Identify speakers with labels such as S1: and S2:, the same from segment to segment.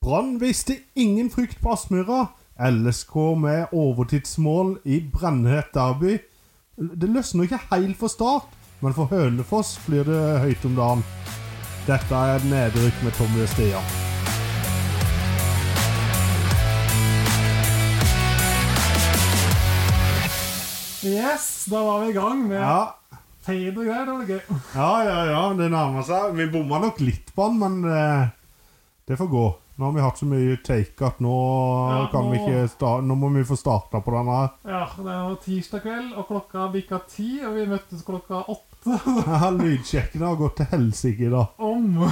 S1: Brann viste ingen frykt på Aspmyra. LSK med overtidsmål i brennhett derby. Det løsner ikke helt for Start, men for Hønefoss blir det høyt om dagen. Dette er Nedrykk med Tommy og Stian.
S2: Yes, da var vi i gang med
S1: Ja,
S2: feil og greier. Det var gøy.
S1: ja, ja. ja det nærmer seg. Vi bomma nok litt på den, men eh, det får gå. Nå har vi hatt så mye take at nå
S2: Ja,
S1: kan vi
S2: nå-
S1: ikke sta- Nå må vi få starta på den her.
S2: Ja, det var tirsdag kveld, og klokka bikka ti, og vi møttes klokka åtte
S1: Ja, Lydsjekken har gått til helsike i dag.
S2: om.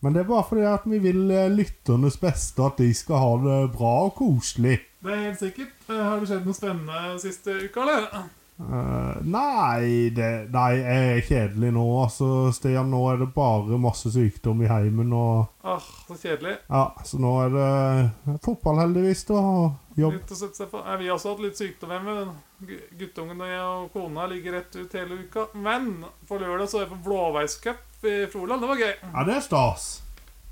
S1: Men det er bare fordi at vi vil eh, lytternes beste, at de skal ha det bra og koselig.
S2: Det er helt sikkert. Eh, Har det skjedd noe spennende siste uka, eller?
S1: Eh, nei, det, nei, jeg er kjedelig nå, altså, Stian. Nå er det bare masse sykdom i heimen, og
S2: Åh, Ah, så kjedelig.
S1: Ja, så nå er det fotball, heldigvis, da, og jobb.
S2: Litt å sette seg på. Eh, Vi har også hatt litt sykdom hjemme. Den gu- Guttungen og jeg og kona ligger rett ut hele uka. Men på lørdag så er jeg på blåveiscup i Froland. Det var gøy.
S1: Ja, det er stas.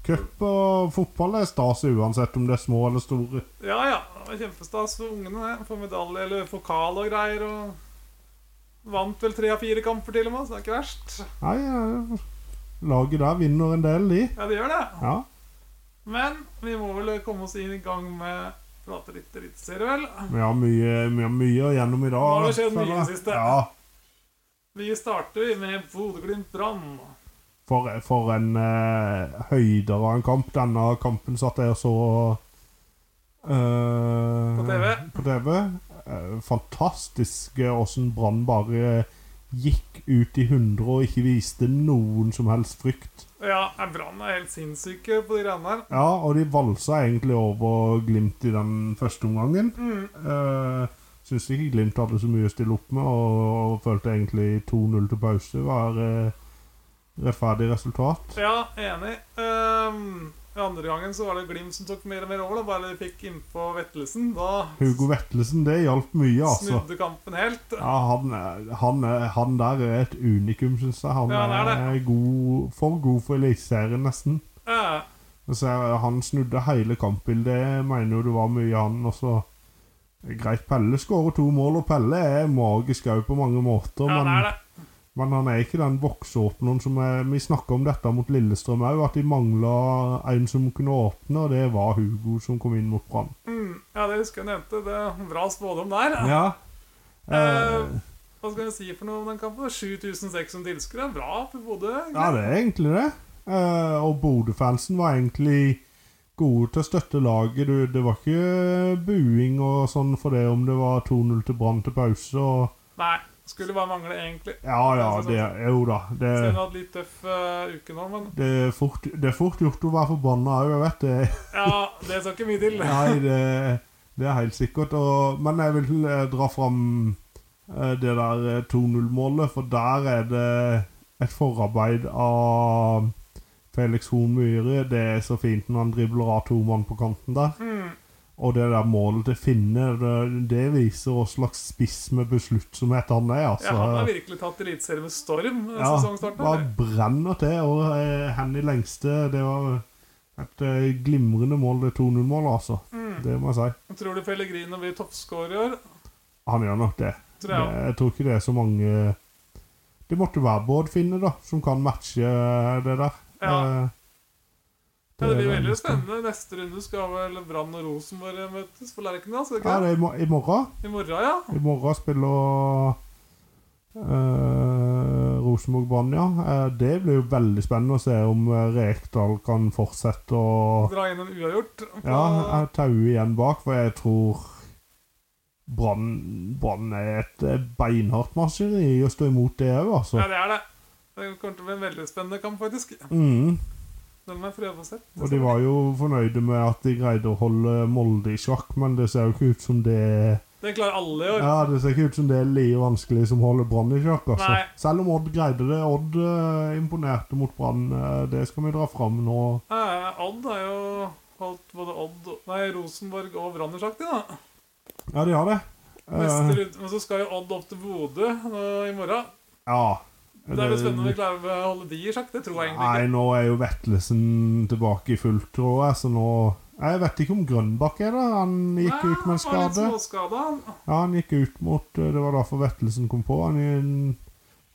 S1: Cup og fotball er stas uansett om det er små eller store.
S2: Ja, ja. Det var kjempestas for ungene. det. Få medalje eller pokal og greier. og Vant vel tre av fire kamper til og med, så det er ikke verst.
S1: Nei, eh, laget der vinner en del, de.
S2: Ja, det gjør det.
S1: Ja.
S2: Men vi må vel komme oss inn i gang med prate litt eliteserie, vel.
S1: Vi har mye, vi har mye gjennom i dag.
S2: Nå har det skjedd mye
S1: føler jeg.
S2: i det siste.
S1: Ja,
S2: Vi starter vi med Bodø-Glimt-Brann.
S1: For, for en eh, høyder av en kamp. Denne kampen satt jeg og så eh,
S2: På TV.
S1: På TV. Eh, fantastisk eh, åssen Brann bare gikk ut i 100 og ikke viste noen som helst frykt.
S2: Ja, Brann er helt sinnssyke på de greiene her.
S1: Ja, og de valsa egentlig over Glimt i den første omgangen.
S2: Mm.
S1: Uh, Syns ikke Glimt hadde så mye å stille opp med, og, og følte egentlig 2-0 til pause var eh, rettferdig resultat.
S2: Ja, enig. Ehm, I andre gangen så var det Glimt som tok mer og mer over. Da bare de fikk innpå Vettelsen. Da
S1: Hugo Vettelsen, det hjalp mye, altså.
S2: snudde kampen helt.
S1: Ja, han, er- han, er- han der er et unikum, syns jeg. Han,
S2: Ja, han er
S1: er god, for god for Eliteserien, nesten.
S2: Eh,
S1: Altså, han snudde hele kampbildet. Jeg mener jo det var mye han også. Greit, Pelle skårer to mål, og Pelle er magisk òg på mange måter.
S2: ja, det
S1: men,
S2: er det.
S1: men han er ikke den boksåpneren som er, Vi snakka om dette mot Lillestrøm òg, at de mangla en som kunne åpne, og det var Hugo som kom inn mot Brann.
S2: Mm, ja, det husker jeg nevnte. Det er en bra spådom der.
S1: Ja. Eh,
S2: Eh, Hva skal jeg si for noe om den kampen? 7600 tilskuere. Bra for Bodø.
S1: Ja, det er egentlig det. Eh, og Bodø-fansen var egentlig gode til å støtte laget. Du, det var ikke buing og sånn for det om det var 2-0 til Brann til pause. Og
S2: Nei, skulle bare mangle, egentlig.
S1: ja, ja, det, jo da. Det,
S2: Selv om vi har hatt litt tøff eh, uke nå, men
S1: det, er fort, det er fort gjort å være forbanna òg, jeg vet det.
S2: ja, det skal ikke mye til.
S1: Nei, det, det er helt sikkert. Og, men jeg vil eh, dra fram eh, det der eh, 2-0-målet, for der er det et forarbeid av Felix Horn Myhre. Det er så fint når han dribler av to mann på kanten der.
S2: Mm,
S1: Og det der målet til Finne, det, det viser hva slags spiss med besluttsomhet han er.
S2: ja, han har
S1: altså.
S2: virkelig tatt eliteserie med storm eh,
S1: Ja,
S2: sesongstarten.
S1: bare
S2: eller?
S1: brenner til. Og eh, hen i lengste, det var et eh, glimrende mål, det 2-0-målet, altså.
S2: Mm.
S1: Det må jeg si.
S2: Tror du Pellegrino blir toppscorer i år?
S1: Han gjør nok det.
S2: Tror jeg
S1: Det- Jeg tror ikke det er så mange Det måtte være Bård Finne, da, som kan matche eh, det der.
S2: Ja.
S1: Eh,
S2: Ja, det blir
S1: er-
S2: veldig spennende. Neste runde skal vel Brann og Rosenborg møtes på Lerkendal? skal det
S1: Ja,
S2: ikke det?
S1: det er i mor- i morgen.
S2: I morgen, ja.
S1: I morgen spiller eh, Rosenborg Brann, ja. Eh, det blir jo veldig spennende å se om eh, Rekdal kan fortsette å
S2: Dra inn en uavgjort. på-
S1: Ja, jeg tauer igjen bak, for jeg tror Brann Brann er et eh, beinhardt maskineri å stå imot det òg, altså.
S2: ja, det er det. Det kommer til å bli en veldig spennende kamp, faktisk.
S1: Mm.
S2: Den må jeg prøve å sette.
S1: Og de var jo fornøyde med at de greide å holde Molde i sjakk, men det ser jo ikke ut som det
S2: Det klarer alle i år.
S1: Ja, det ser ikke ut som det er like vanskelig som å holde Brann i sjakk, altså.
S2: Nei.
S1: Selv om Odd greide det. Odd eh, imponerte mot Brann. eh, det skal vi dra fram nå.
S2: Eh, Odd har jo holdt både Odd, nei, Rosenborg og Brann i sjakk, de, da.
S1: Ja, de har det. Eh,
S2: Neste runde, men så skal jo Odd opp til Bodø nå i morgen.
S1: ja.
S2: Det er jo spennende om vi klarer å holde de i sjakk. Det tror jeg egentlig
S1: Nei, nå er jo Vetlesen tilbake i fullt, tror jeg, så nå Jeg vet ikke om Grønbakk er der. Han
S2: ikke.
S1: gikk ut med en
S2: Nei, han var litt
S1: skade.
S2: småskada, han.
S1: Ja, han gikk ut mot eh, Det var derfor Vettelsen kom på han i en,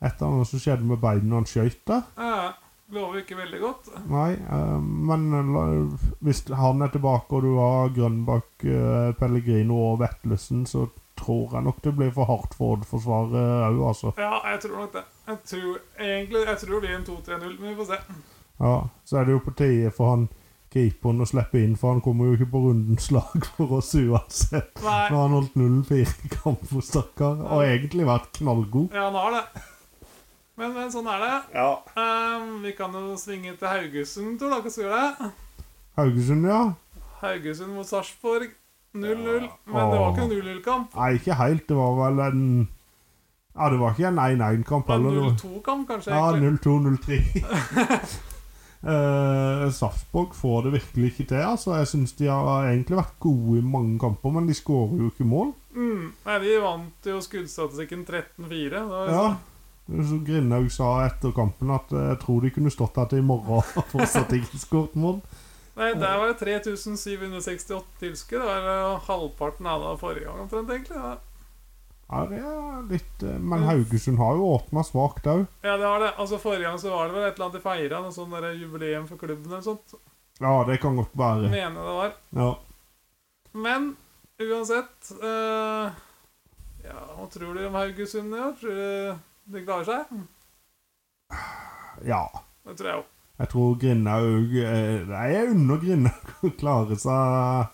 S1: et eller annet som skjedde med beina han skøyt der.
S2: Ja, lover ikke veldig godt.
S1: Nei, eh, men la- hvis han er tilbake, og du har Grønbakk, eh, Pellegrino og Vettelsen, så tror jeg nok det blir for hardt for Odd-forsvaret òg, altså.
S2: Ja, jeg tror nok det. Jeg tror egentlig Jeg tror det blir en 2-3-0, men vi får se.
S1: Ja, så er det jo på tide for han keeperen å slippe inn, for han kommer jo ikke på rundens lag for oss uansett. Nå
S2: Nei,
S1: har han holdt 0-4 i kampen, stakkar, og egentlig vært knallgod.
S2: ja, han har det. Men, men sånn er det.
S1: Ja.
S2: Ehm, vi kan jo svinge til Haugesund, tror dere skal gjøre det.
S1: Haugesund, ja.
S2: Haugesund mot Sarpsborg 0-0.
S1: Ja.
S2: Men det var ikke
S1: Åh.
S2: en 0-0-kamp.
S1: Nei, ikke helt. Det var vel en Ja, det var ikke en 1-1-kamp
S2: Det var
S1: heller. det var-
S2: en 0-2-kamp, kanskje.
S1: Ja,
S2: egentlig.
S1: 0-2-0-3. Eh, Sarpsborg får det virkelig ikke til. altså Jeg syns de har egentlig vært gode i mange kamper, men de skårer jo ikke mål.
S2: Mm. Nei, de vant jo skuddstatistikken 13-4. Det var jo
S1: Ja. altså. Så Grindhaug sa etter kampen at eh, jeg tror de kunne stått her til i morgen og fortsatt ikke skåret mål.
S2: Nei, der var det 3768 tilskuere. Det var eh, halvparten av det forrige gang, omtrent, egentlig. Ja.
S1: Ja, det er litt eh, Men Haugesund har jo åpna svakt òg.
S2: ja, det var det. Altså, Forrige gang så var det vel et eller annet de feira, noe sånn der jubileum for klubben eller sånt.
S1: Ja, det kan godt være.
S2: Mener jeg det var.
S1: Ja.
S2: Men uansett eh, Ja, hva tror du om Haugesund i år? Tror du de klarer seg?
S1: ja.
S2: Det tror jeg jo.
S1: Jeg tror Grindhaug eh, Nei, jeg unner Grindhaug å klare seg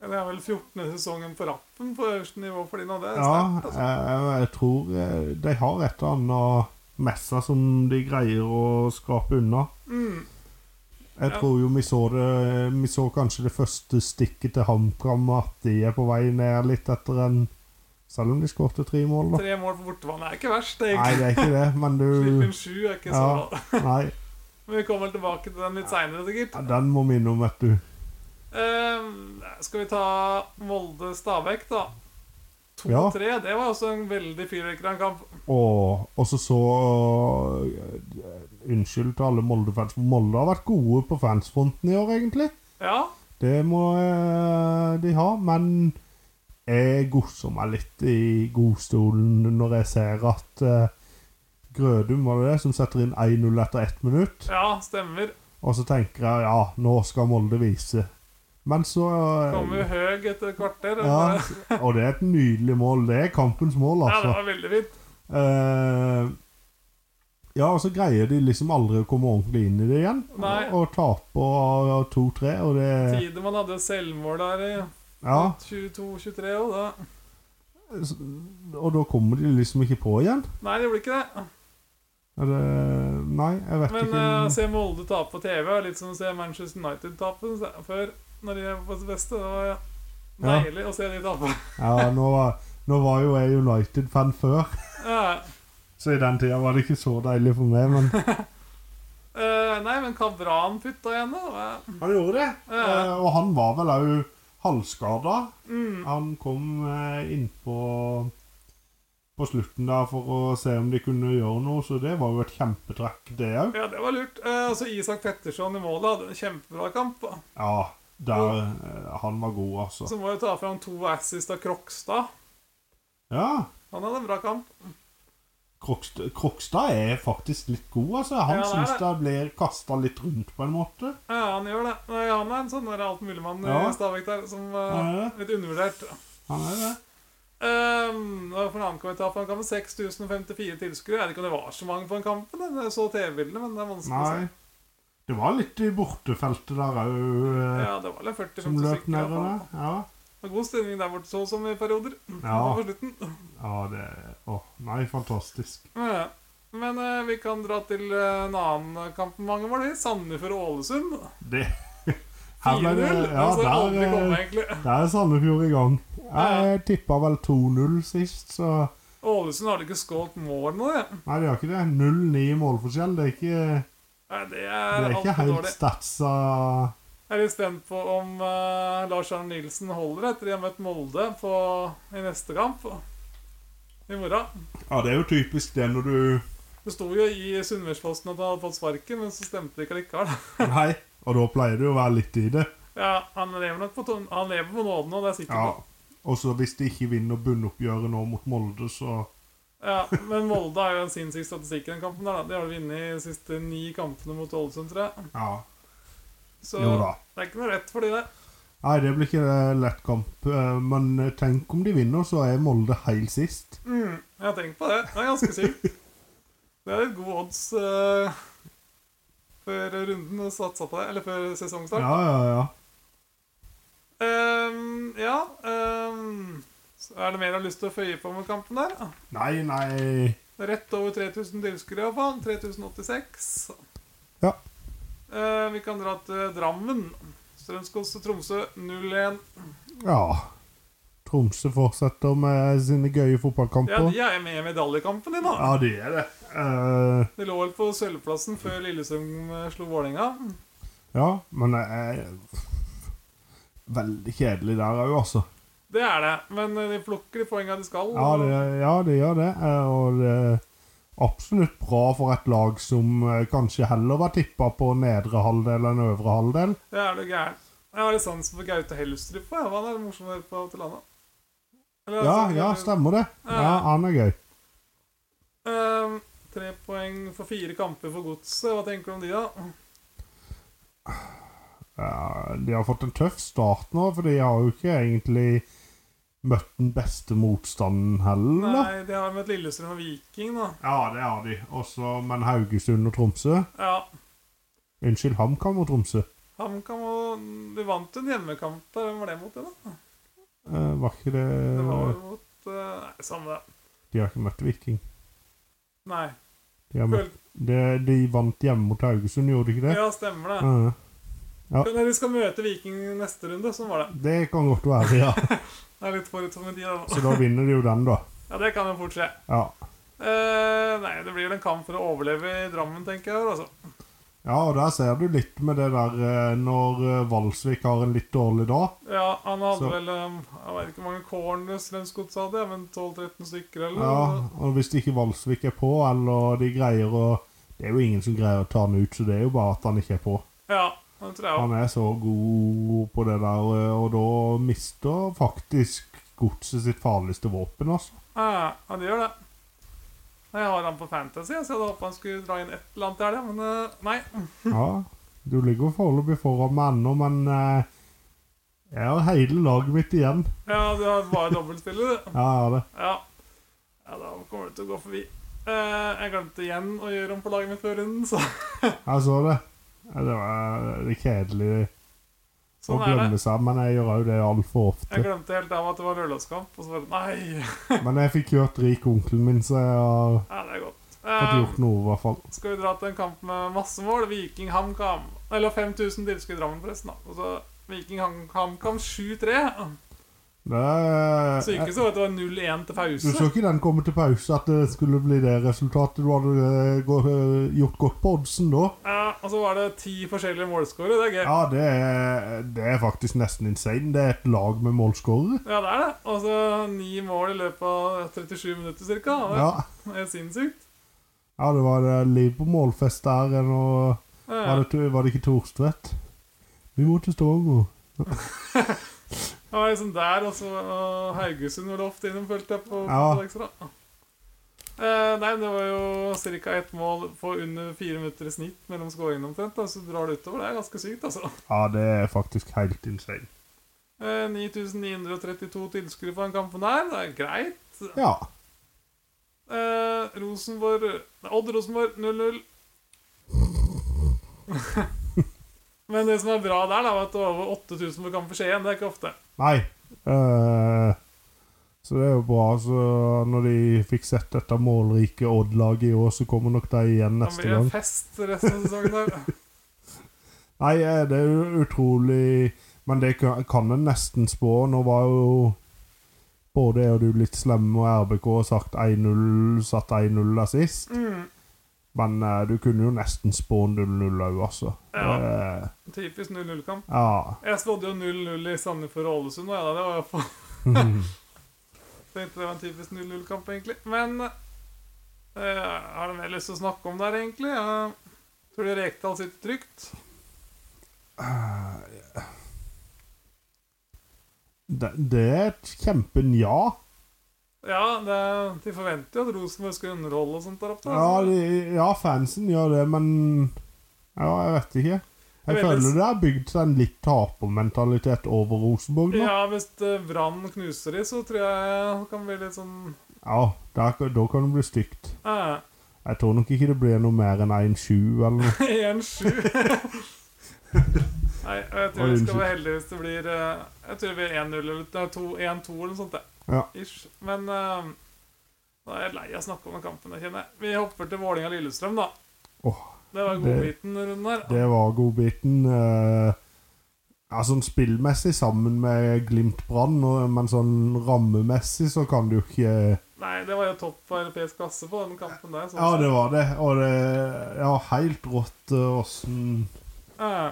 S2: Ja, Det er vel 14. sesongen på rappen på øverste nivå for de nå. Det er
S1: Ja,
S2: sterkt. Altså.
S1: jeg, jeg tror eh, de har et eller annet med seg som de greier å skrape unna.
S2: Mm.
S1: Jeg
S2: Ja.
S1: tror jo vi så det Vi så kanskje det første stikket til HamKam, at de er på vei ned litt etter en Selv om de skårte tre mål, da.
S2: Tre mål på bortebane er ikke verst,
S1: Nei,
S2: egentlig.
S1: det er ikke det, men
S2: Slipp inn
S1: du
S2: sju er ikke
S1: Uh.
S2: så
S1: Ja.
S2: bra.
S1: Nei,
S2: Men vi kommer vel tilbake til den litt seinere, sikkert.
S1: den må minne om, vet du.
S2: Eh, skal vi ta Molde-Stabæk, da? 2-3.
S1: Ja.
S2: Det var også en veldig fyrverkeri kamp.
S1: Og, og så så Unnskyld til alle Molde-fans, for Molde har vært gode på fansfronten i år, egentlig.
S2: Ja,
S1: Det må eh, de ha, men jeg godser meg litt i godstolen når jeg ser at eh, Grødum var det det som setter inn 1-0 etter ett minutt.
S2: ja, stemmer.
S1: Og så tenker jeg ja, nå skal Molde vise. Men så
S2: Kommer jo
S1: eh,
S2: høg etter et kvarter.
S1: ja,
S2: Ja.
S1: Og det er et nydelig mål. Det er kampens mål,
S2: ja, det
S1: altså.
S2: var veldig fint.
S1: Eh, ja, og så greier de liksom aldri å komme ordentlig inn i det igjen.
S2: Nei.
S1: Og, og taper eh, 2-3, og det
S2: Tidemann hadde selvmål der i
S1: Ja.
S2: 22-23 og da
S1: Og da kommer de liksom ikke på igjen.
S2: Nei, det gjorde ikke det.
S1: Er det Nei, jeg vet
S2: Men
S1: ikke.
S2: eh, å se Molde tape på TV er litt som å se Manchester United tape se- før, når de er på sitt beste. Det var deilig å se de tape.
S1: Ja, nå var, nå var jo jeg United-fan før,
S2: Ja.
S1: så i den tida var det ikke så deilig for meg, men
S2: Eh, nei, men Kabran putta igjen, da. Det var-
S1: Han gjorde det.
S2: Ja.
S1: Eh, og han var vel òg halvskada.
S2: Mm.
S1: Han kom eh, innpå på slutten der for å se om de kunne gjøre noe, så det var jo et kjempetrekk, det òg.
S2: Ja, det var lurt. Eh, altså Isak Petterson i målet hadde en kjempebra kamp. da.
S1: Ja, der eh, Han var god, altså.
S2: Så må jeg ta fram to assist av Krokstad.
S1: Ja.
S2: Han hadde en bra kamp.
S1: Krokst- Krokstad er faktisk litt god, altså. Han
S2: Ja, han er
S1: syns det blir kasta litt rundt, på en måte.
S2: Ja, han gjør det. Nei, han er en sånn der altmuligmann
S1: Ja.
S2: i Stabæk der som
S1: Han
S2: eh,
S1: er
S2: litt undervurdert.
S1: Han er det.
S2: Um, for en annen kommentar på en kamp 6054 tilskuere. Jeg vet ikke om det var så mange på den kampen. men Jeg så TV-bildene, men det er vanskelig
S1: Nei.
S2: å se.
S1: Det var litt i bortefeltet der òg,
S2: Ja, det var vel
S1: som
S2: 40-50
S1: løp
S2: stykker. i hvert
S1: nedover
S2: fall.
S1: der. Ja.
S2: Det var God stemning der borte, så som i perioder.
S1: Ja.
S2: På slutten.
S1: ja, det Å, nei, fantastisk.
S2: Ja. Men eh, vi kan dra til eh, en annen kamp med mange mål. i. Sandefjord og Ålesund.
S1: Det
S2: 4-0.
S1: ble det-
S2: altså, det
S1: eh, Ja,
S2: har aldri kommet,
S1: der, eh,
S2: egentlig.
S1: der er Sandefjord i gang.
S2: Ja.
S1: Jeg tippa vel 2-0 sist, så
S2: Ålesund har ikke skålt mål nå, det.
S1: Nei, det gjør ikke det. 0-9 i målforskjell. Det er ikke,
S2: Nei, det
S1: det
S2: er
S1: er ikke
S2: altfor
S1: helt
S2: dårlig.
S1: statsa
S2: Jeg er litt spent på om eh, Lars Arne Nilsen holder etter de har møtt Molde på, i neste kamp. I morgen.
S1: Ja, det er jo typisk det når du
S2: Det sto jo i Sunnmørsposten at han hadde fått sparken, men så stemte det ikke likevel.
S1: Nei, og da pleier det jo å være litt i det.
S2: Ja, han lever nok på, tom- han lever på nåden, og det er jeg sikker
S1: Ja.
S2: på.
S1: Og så hvis de ikke vinner bunnoppgjøret nå mot Molde, så
S2: Ja, men Molde har jo en sinnssyk statistikk i den kampen. der da. De har vel vunnet de siste ni kampene mot Ålesund, tror jeg.
S1: Ja.
S2: Så
S1: Jo da.
S2: det er ikke noe rett for de der.
S1: Nei, det blir ikke eh, lett kamp. eh, Men eh, tenk om de vinner, så er Molde helt sist.
S2: Mm, jeg har tenkt på det. Det er ganske sykt. Det er litt gode odds eh, før runden og satsa på det, eller før
S1: Ja,
S2: sesongstart.
S1: ja, ja.
S2: Ehm, ja ehm, så er det mer jeg har lyst til å føye på med kampen der? da?
S1: Nei, nei
S2: Rett over 3000 tilskuere, iallfall. 3086.
S1: Ja.
S2: Eh, vi kan dra til Drammen. Strømskos og Tromsø 0-1.
S1: Ja. Tromsø fortsetter med sine gøye
S2: Ja,
S1: fotballkamper.
S2: de er med i medaljekampen, de, nå.
S1: Ja, de er det. Eh,
S2: De lå vel på sølvplassen før Lillesund eh, slo Vålerenga.
S1: ja, men det er veldig kjedelig der òg, altså.
S2: Det er det, men eh, de plukker de poengene de skal.
S1: Ja, det, ja, det gjør det. eh, Og det er absolutt bra for et lag som eh, kanskje heller var tippa på nedre halvdel enn øvre halvdel.
S2: Det er du gæren. Jeg har litt sansen for Gaute Helstrup. ja. Han er morsom å høre på til landet. Eller,
S1: Ja,
S2: altså,
S1: ja, stemmer det. Ja, han er gøy.
S2: eh, tre poeng for fire kamper for Godset. Hva tenker du om de,
S1: Hm,
S2: da?
S1: Ja, de har fått en tøff start nå, for de har jo ikke egentlig møtt den beste motstanden heller.
S2: Nei, De har møtt Lillestrøm og Viking, da.
S1: Ja, det har de. Også, men Haugesund og Tromsø
S2: Ja,
S1: Unnskyld, HamKam og Tromsø.
S2: HamKam og Du vant en hjemmekamp der. Hvem var det mot, det da?
S1: Eh, var ikke det
S2: Det var vel mot eh, Nei, samme det.
S1: De har ikke møtt Viking.
S2: Nei.
S1: De, har møtt,
S2: Føl-
S1: de, de vant hjemme mot Haugesund, gjorde de ikke det?
S2: Ja, stemmer det.
S1: Eh,
S2: Nei, De skal møte Viking i neste runde. Sånn var det.
S1: det kan godt være, ja.
S2: Det er litt forut for min tid. da.
S1: Så da vinner de jo den, da.
S2: Ja, det kan jo fort skje.
S1: Ja,
S2: Eh, nei, det blir vel en kamp for å overleve i Drammen, tenker jeg. altså.
S1: ja og der ser du litt med det der eh, når eh, Valsvik har en litt dårlig dag.
S2: Ja, Han hadde
S1: Så-
S2: vel um, jeg vet ikke hvor mange corners Strømsgods hadde, ja, men 12-13 stykker eller
S1: Ja,
S2: noe.
S1: og hvis ikke Valsvik er på, eller de greier å Det er jo ingen som greier å ta han ut, så det er jo bare at han ikke er på.
S2: Ja, det tror jeg
S1: Han
S2: også.
S1: er så god på det der, eh, og da mister faktisk godset sitt farligste våpen, altså.
S2: Ja, Eh, ja, det gjør det. Nei, Jeg har han på Fantasy, så jeg hadde håpet han skulle dra inn et eller annet der, ja, men eh, nei.
S1: Ja, du ligger foreløpig foran meg ennå, men eh, jeg har hele laget mitt igjen.
S2: Ja, Du har bare dobbeltspiller, du.
S1: Ja, jeg har det.
S2: Ja. ja, da kommer du til å gå forbi. Eh, jeg glemte igjen å gjøre om på laget mitt før runden, så
S1: Jeg så det. Ja, Det var eh, det er kjedelig å
S2: sånn er det.
S1: glemme seg, men jeg gjør òg det altfor ofte.
S2: Jeg glemte helt av at det var lørdagskamp, og så bare Nei!
S1: Men jeg fikk hørt rik onkelen min, så jeg har
S2: Ja, det er godt.
S1: fått
S2: Eh,
S1: gjort noe, i hvert fall.
S2: skal vi dra til en kamp med masse mål. Viking HamKam. Eller 5000 tilskudd i Drammen, forresten. da. Og så Viking Ham- HamKam 7-3.
S1: Det er,
S2: Så ikke så at det var 0-1 til
S1: Du så
S2: pause.
S1: ikke den komme til pause, at det skulle bli det resultatet. Du hadde eh, gå- eh, gjort godt på oddsen da.
S2: Ja, Eh, og så var det ti forskjellige målskårere. Det er gøy.
S1: Ja, det er, det er faktisk nesten insane. Det er et lag med målskårere.
S2: Ja, det er det. Og så ni mål i løpet av 37 minutter cirka.
S1: Ja.
S2: Det er sinnssykt.
S1: ja, det var eh, liv på målfest der. eh, nå-
S2: Ja,
S1: var, det, to- var det ikke Torstvedt? Vi må til Stavanger.
S2: Det var liksom der, og så og Haugesund var det ofte innom, følte jeg. på
S1: Ja.
S2: på ekstra. Eh, nei, det var jo ca. ett mål på under fire minutter i snitt mellom skåringene omtrent. da. Så drar det utover. Det er ganske sykt, altså.
S1: Ja, det er faktisk helt insane.
S2: Eh, 9932 tilskuere på den kampen her. Det er greit.
S1: Ja.
S2: Eh, Rosenborg nei, Odd Rosenborg 0-0. Men det som er bra der, da, var at det var over 8000 på kamp for Skien. Det er ikke ofte.
S1: Nei. eh, så det er jo bra. Så når de fikk sett dette målrike Odd-laget i år, så kommer nok de igjen
S2: Det
S1: neste
S2: blir
S1: gang.
S2: en fest resten av sesongen. Der.
S1: Nei, eh, det er jo utrolig Men det kan kan en nesten spå. Nå var jo både jeg og du litt slemme, og RBK har sagt 1-0, satt 1-0 der sist.
S2: Mm,
S1: Men eh, du kunne jo nesten spå 0-0 òg, altså.
S2: Ja.
S1: Eh,
S2: typisk 0-0-kamp.
S1: ja.
S2: Jeg spådde jo 0-0 i Sandefjord og Ålesund. og Ja, det var jo for... Tenkte det var en typisk 0-0-kamp, egentlig. Men Eh, har du mer lyst til å snakke om der, egentlig? Ja. Tror du Rekdal sitter trygt?
S1: Det, det er et kjempenja.
S2: Ja, det, de forventer jo at Rosenborg skal underholde og sånt der oppe.
S1: Ja, de- ja, fansen gjør det, men Ja, jeg vet ikke. Jeg
S2: Jeg vet
S1: føler
S2: det-
S1: det har bygd seg en litt tapermentalitet over Rosenborg nå.
S2: ja, hvis eh, Brann knuser de, så tror jeg det kan bli litt sånn
S1: Ja, der, da kan det bli stygt.
S2: eh,
S1: Jeg tror nok ikke det blir noe mer enn 1-7 eller noe.
S2: 1-7. Nei, jeg tror
S1: Oi,
S2: vi
S1: unnskyld.
S2: skal være heldige hvis det blir eh, Jeg tror det blir 1-0 eller nei, 2 1-2 eller noe sånt. det.
S1: Ja.
S2: Ish. Men eh, da er jeg lei av å snakke om den kampen, jeg kjenner jeg. Vi hopper til Vålinga-Lillestrøm, da.
S1: Åh,
S2: det var
S1: det-
S2: godbiten rundt der.
S1: Det var godbiten. Eh, ja, sånn spillmessig sammen med Glimt-Brann, og- men sånn rammemessig så kan du ikke
S2: Nei, det var jo topp på europeisk klasse på den kampen der. sånn
S1: Ja,
S2: sett.
S1: det var det. Og det Ja, helt rått åssen
S2: Eh,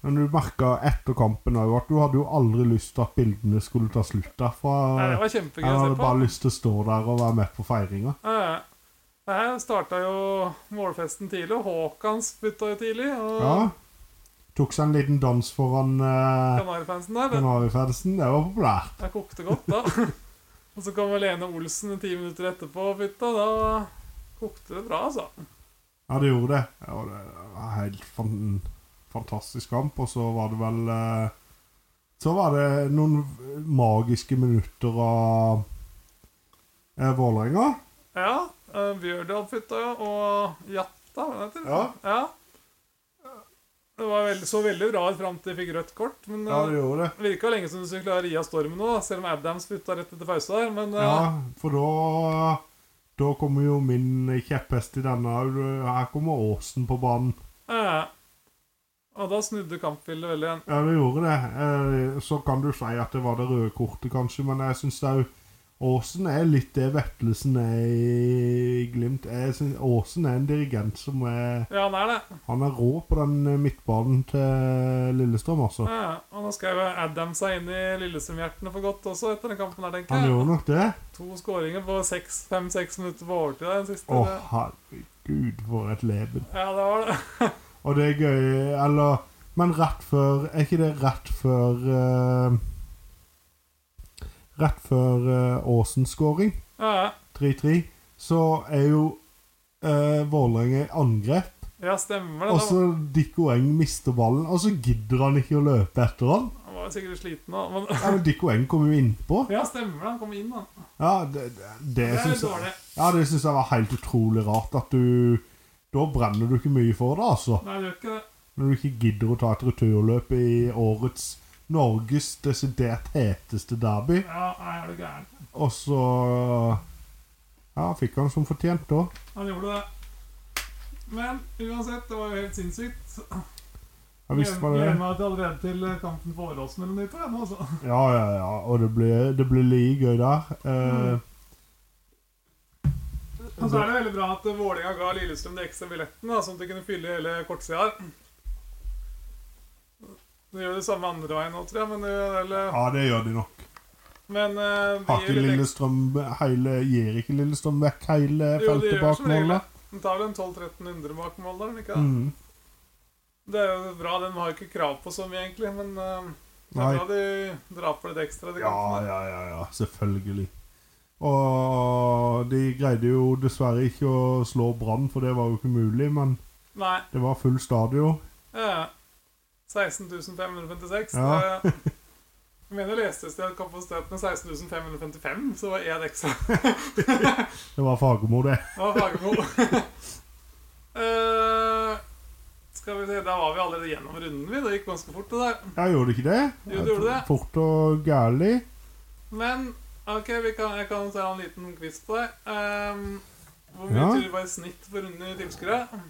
S1: Men du merka etter kampen òg at du hadde jo aldri lyst til at bildene skulle ta slutt
S2: Nei, det
S1: derfra.
S2: var
S1: Jeg
S2: kjempegøy å se
S1: hadde
S2: på.
S1: bare lyst til å stå der og være med på feiringa.
S2: Eh, Det her starta jo målfesten tidlig, og Håkan spytta jo tidlig. Og
S1: Ja. Tok seg en liten dans foran eh,
S2: Kanarifansen der. Det,
S1: Kanarifansen. Det var populært.
S2: det kokte godt, da. og så kom Lene Olsen ti minutter etterpå og fytta. Da kokte det bra, altså.
S1: Ja, det gjorde det. Ja, og det var helt fan fantastisk kamp. Og så var det vel eh, Så var det noen magiske minutter av eh, Vålerenga.
S2: Ja. eh, Bjørdal fytta jo, og Jatta, hva heter det?
S1: Ja.
S2: ja. Det var veldig, så veldig bra ut fram til de fikk rødt kort. Men
S1: Ja,
S2: eh,
S1: det gjorde det.
S2: det virka lenge som du skulle klare å ri av stormen nå, da, selv om Adams flytta rett etter pause der. Men eh,
S1: Ja, for da Da kommer jo min kjepphest i denne. Her kommer Åsen på banen.
S2: eh, Og da snudde kampbildet veldig igjen.
S1: Ja, det gjorde det. Eh, Så kan du si at det var det røde kortet, kanskje, men jeg syns òg Aasen er litt det Vettelsen er i Glimt. Jeg synes Aasen er en dirigent som er
S2: Ja, han er det.
S1: Han er rå på den eh, midtbanen til Lillestrøm, altså.
S2: Ja, Eh, og nå skrev Adam seg inn i Lillestrøm-hjertene for godt også etter den kampen her, tenker
S1: Han
S2: jeg.
S1: gjorde nok det.
S2: To skåringer på seks- fem-seks minutter på overtid der, den siste.
S1: Å, herregud, for et leben.
S2: Ja, det var det.
S1: Og det er gøy Eller Men rett før Er ikke det rett før eh, Rett før eh, Åsens scoring,
S2: Ja,
S1: 3-3, så er jo eh, Vålerenga i angrep.
S2: ja stemmer det.
S1: Og så Dikko Eng mister ballen, og så gidder han ikke å løpe etter han.
S2: Han var jo sikkert sliten nå, men
S1: Ja, men Dikko Eng kom jo innpå.
S2: Ja, stemmer det. Han kom inn, da.
S1: Ja, det, det, det
S2: Det er
S1: syns
S2: litt
S1: jeg,
S2: dårlig.
S1: ja, det syns jeg var helt utrolig rart. At du Da brenner du ikke mye for det, altså.
S2: Nei, det gjør ikke det.
S1: Når du ikke gidder å ta et returløp i årets Norges desidert heteste derby.
S2: Ja, nei, er du gæren.
S1: Og så Ja, fikk han som fortjent, da.
S2: Han gjorde det. Men uansett, det var jo helt sinnssykt.
S1: Ja, visst var det
S2: Gleder
S1: det.
S2: meg til allerede til eh, kampen på Åråsen eller noe nytt. Ja, nå, altså.
S1: Ja, ja, ja. Og det blir, det blir like gøy der.
S2: Mm.
S1: Eh,
S2: Og så er det veldig bra at Vålinga ga Lillestrøm de ekstra billettene, da, sånn at de kunne fylle hele kortsida her. De gjør det samme andre veien nå, tror jeg, men, eh, det gjør vel-
S1: ja, det gjør de nok.
S2: men eh, de
S1: Har
S2: gir
S1: ikke
S2: litt ekstra.
S1: Lillestrøm hele Gir ikke Lillestrøm vekk hele
S2: Jo, de
S1: feltet
S2: gjør
S1: bak
S2: som regel
S1: målet?
S2: De tar vel en 12-1300 bak mål der, ikke det?
S1: Mm.
S2: Det er jo bra, de har jo ikke krav på så mye, egentlig, men eh, det
S1: Nei.
S2: er bra de drar på litt ekstra. De
S1: Ja,
S2: kampene.
S1: ja, ja, ja, selvfølgelig. Og de greide jo dessverre ikke å slå Brann, for det var jo ikke mulig, men
S2: Nei.
S1: det var full stadion.
S2: Ja. 16.556.
S1: Ja.
S2: Det, jeg mener jeg leste et sted at kapasiteten er 16.555, så var én ekstra.
S1: Det var Fagermo, det.
S2: Det var Fagermo. Eh, skal vi se, Da var vi allerede gjennom runden, vi. Det gikk ganske fort, det der.
S1: Jeg gjorde ikke det.
S2: Jo, du gjorde det.
S1: Fort og gærlig.
S2: Men ok, vi kan, jeg kan ta en liten quiz på deg. Ehm, hvor mye
S1: Ja.
S2: tror du var i snitt på runden i tilskuere?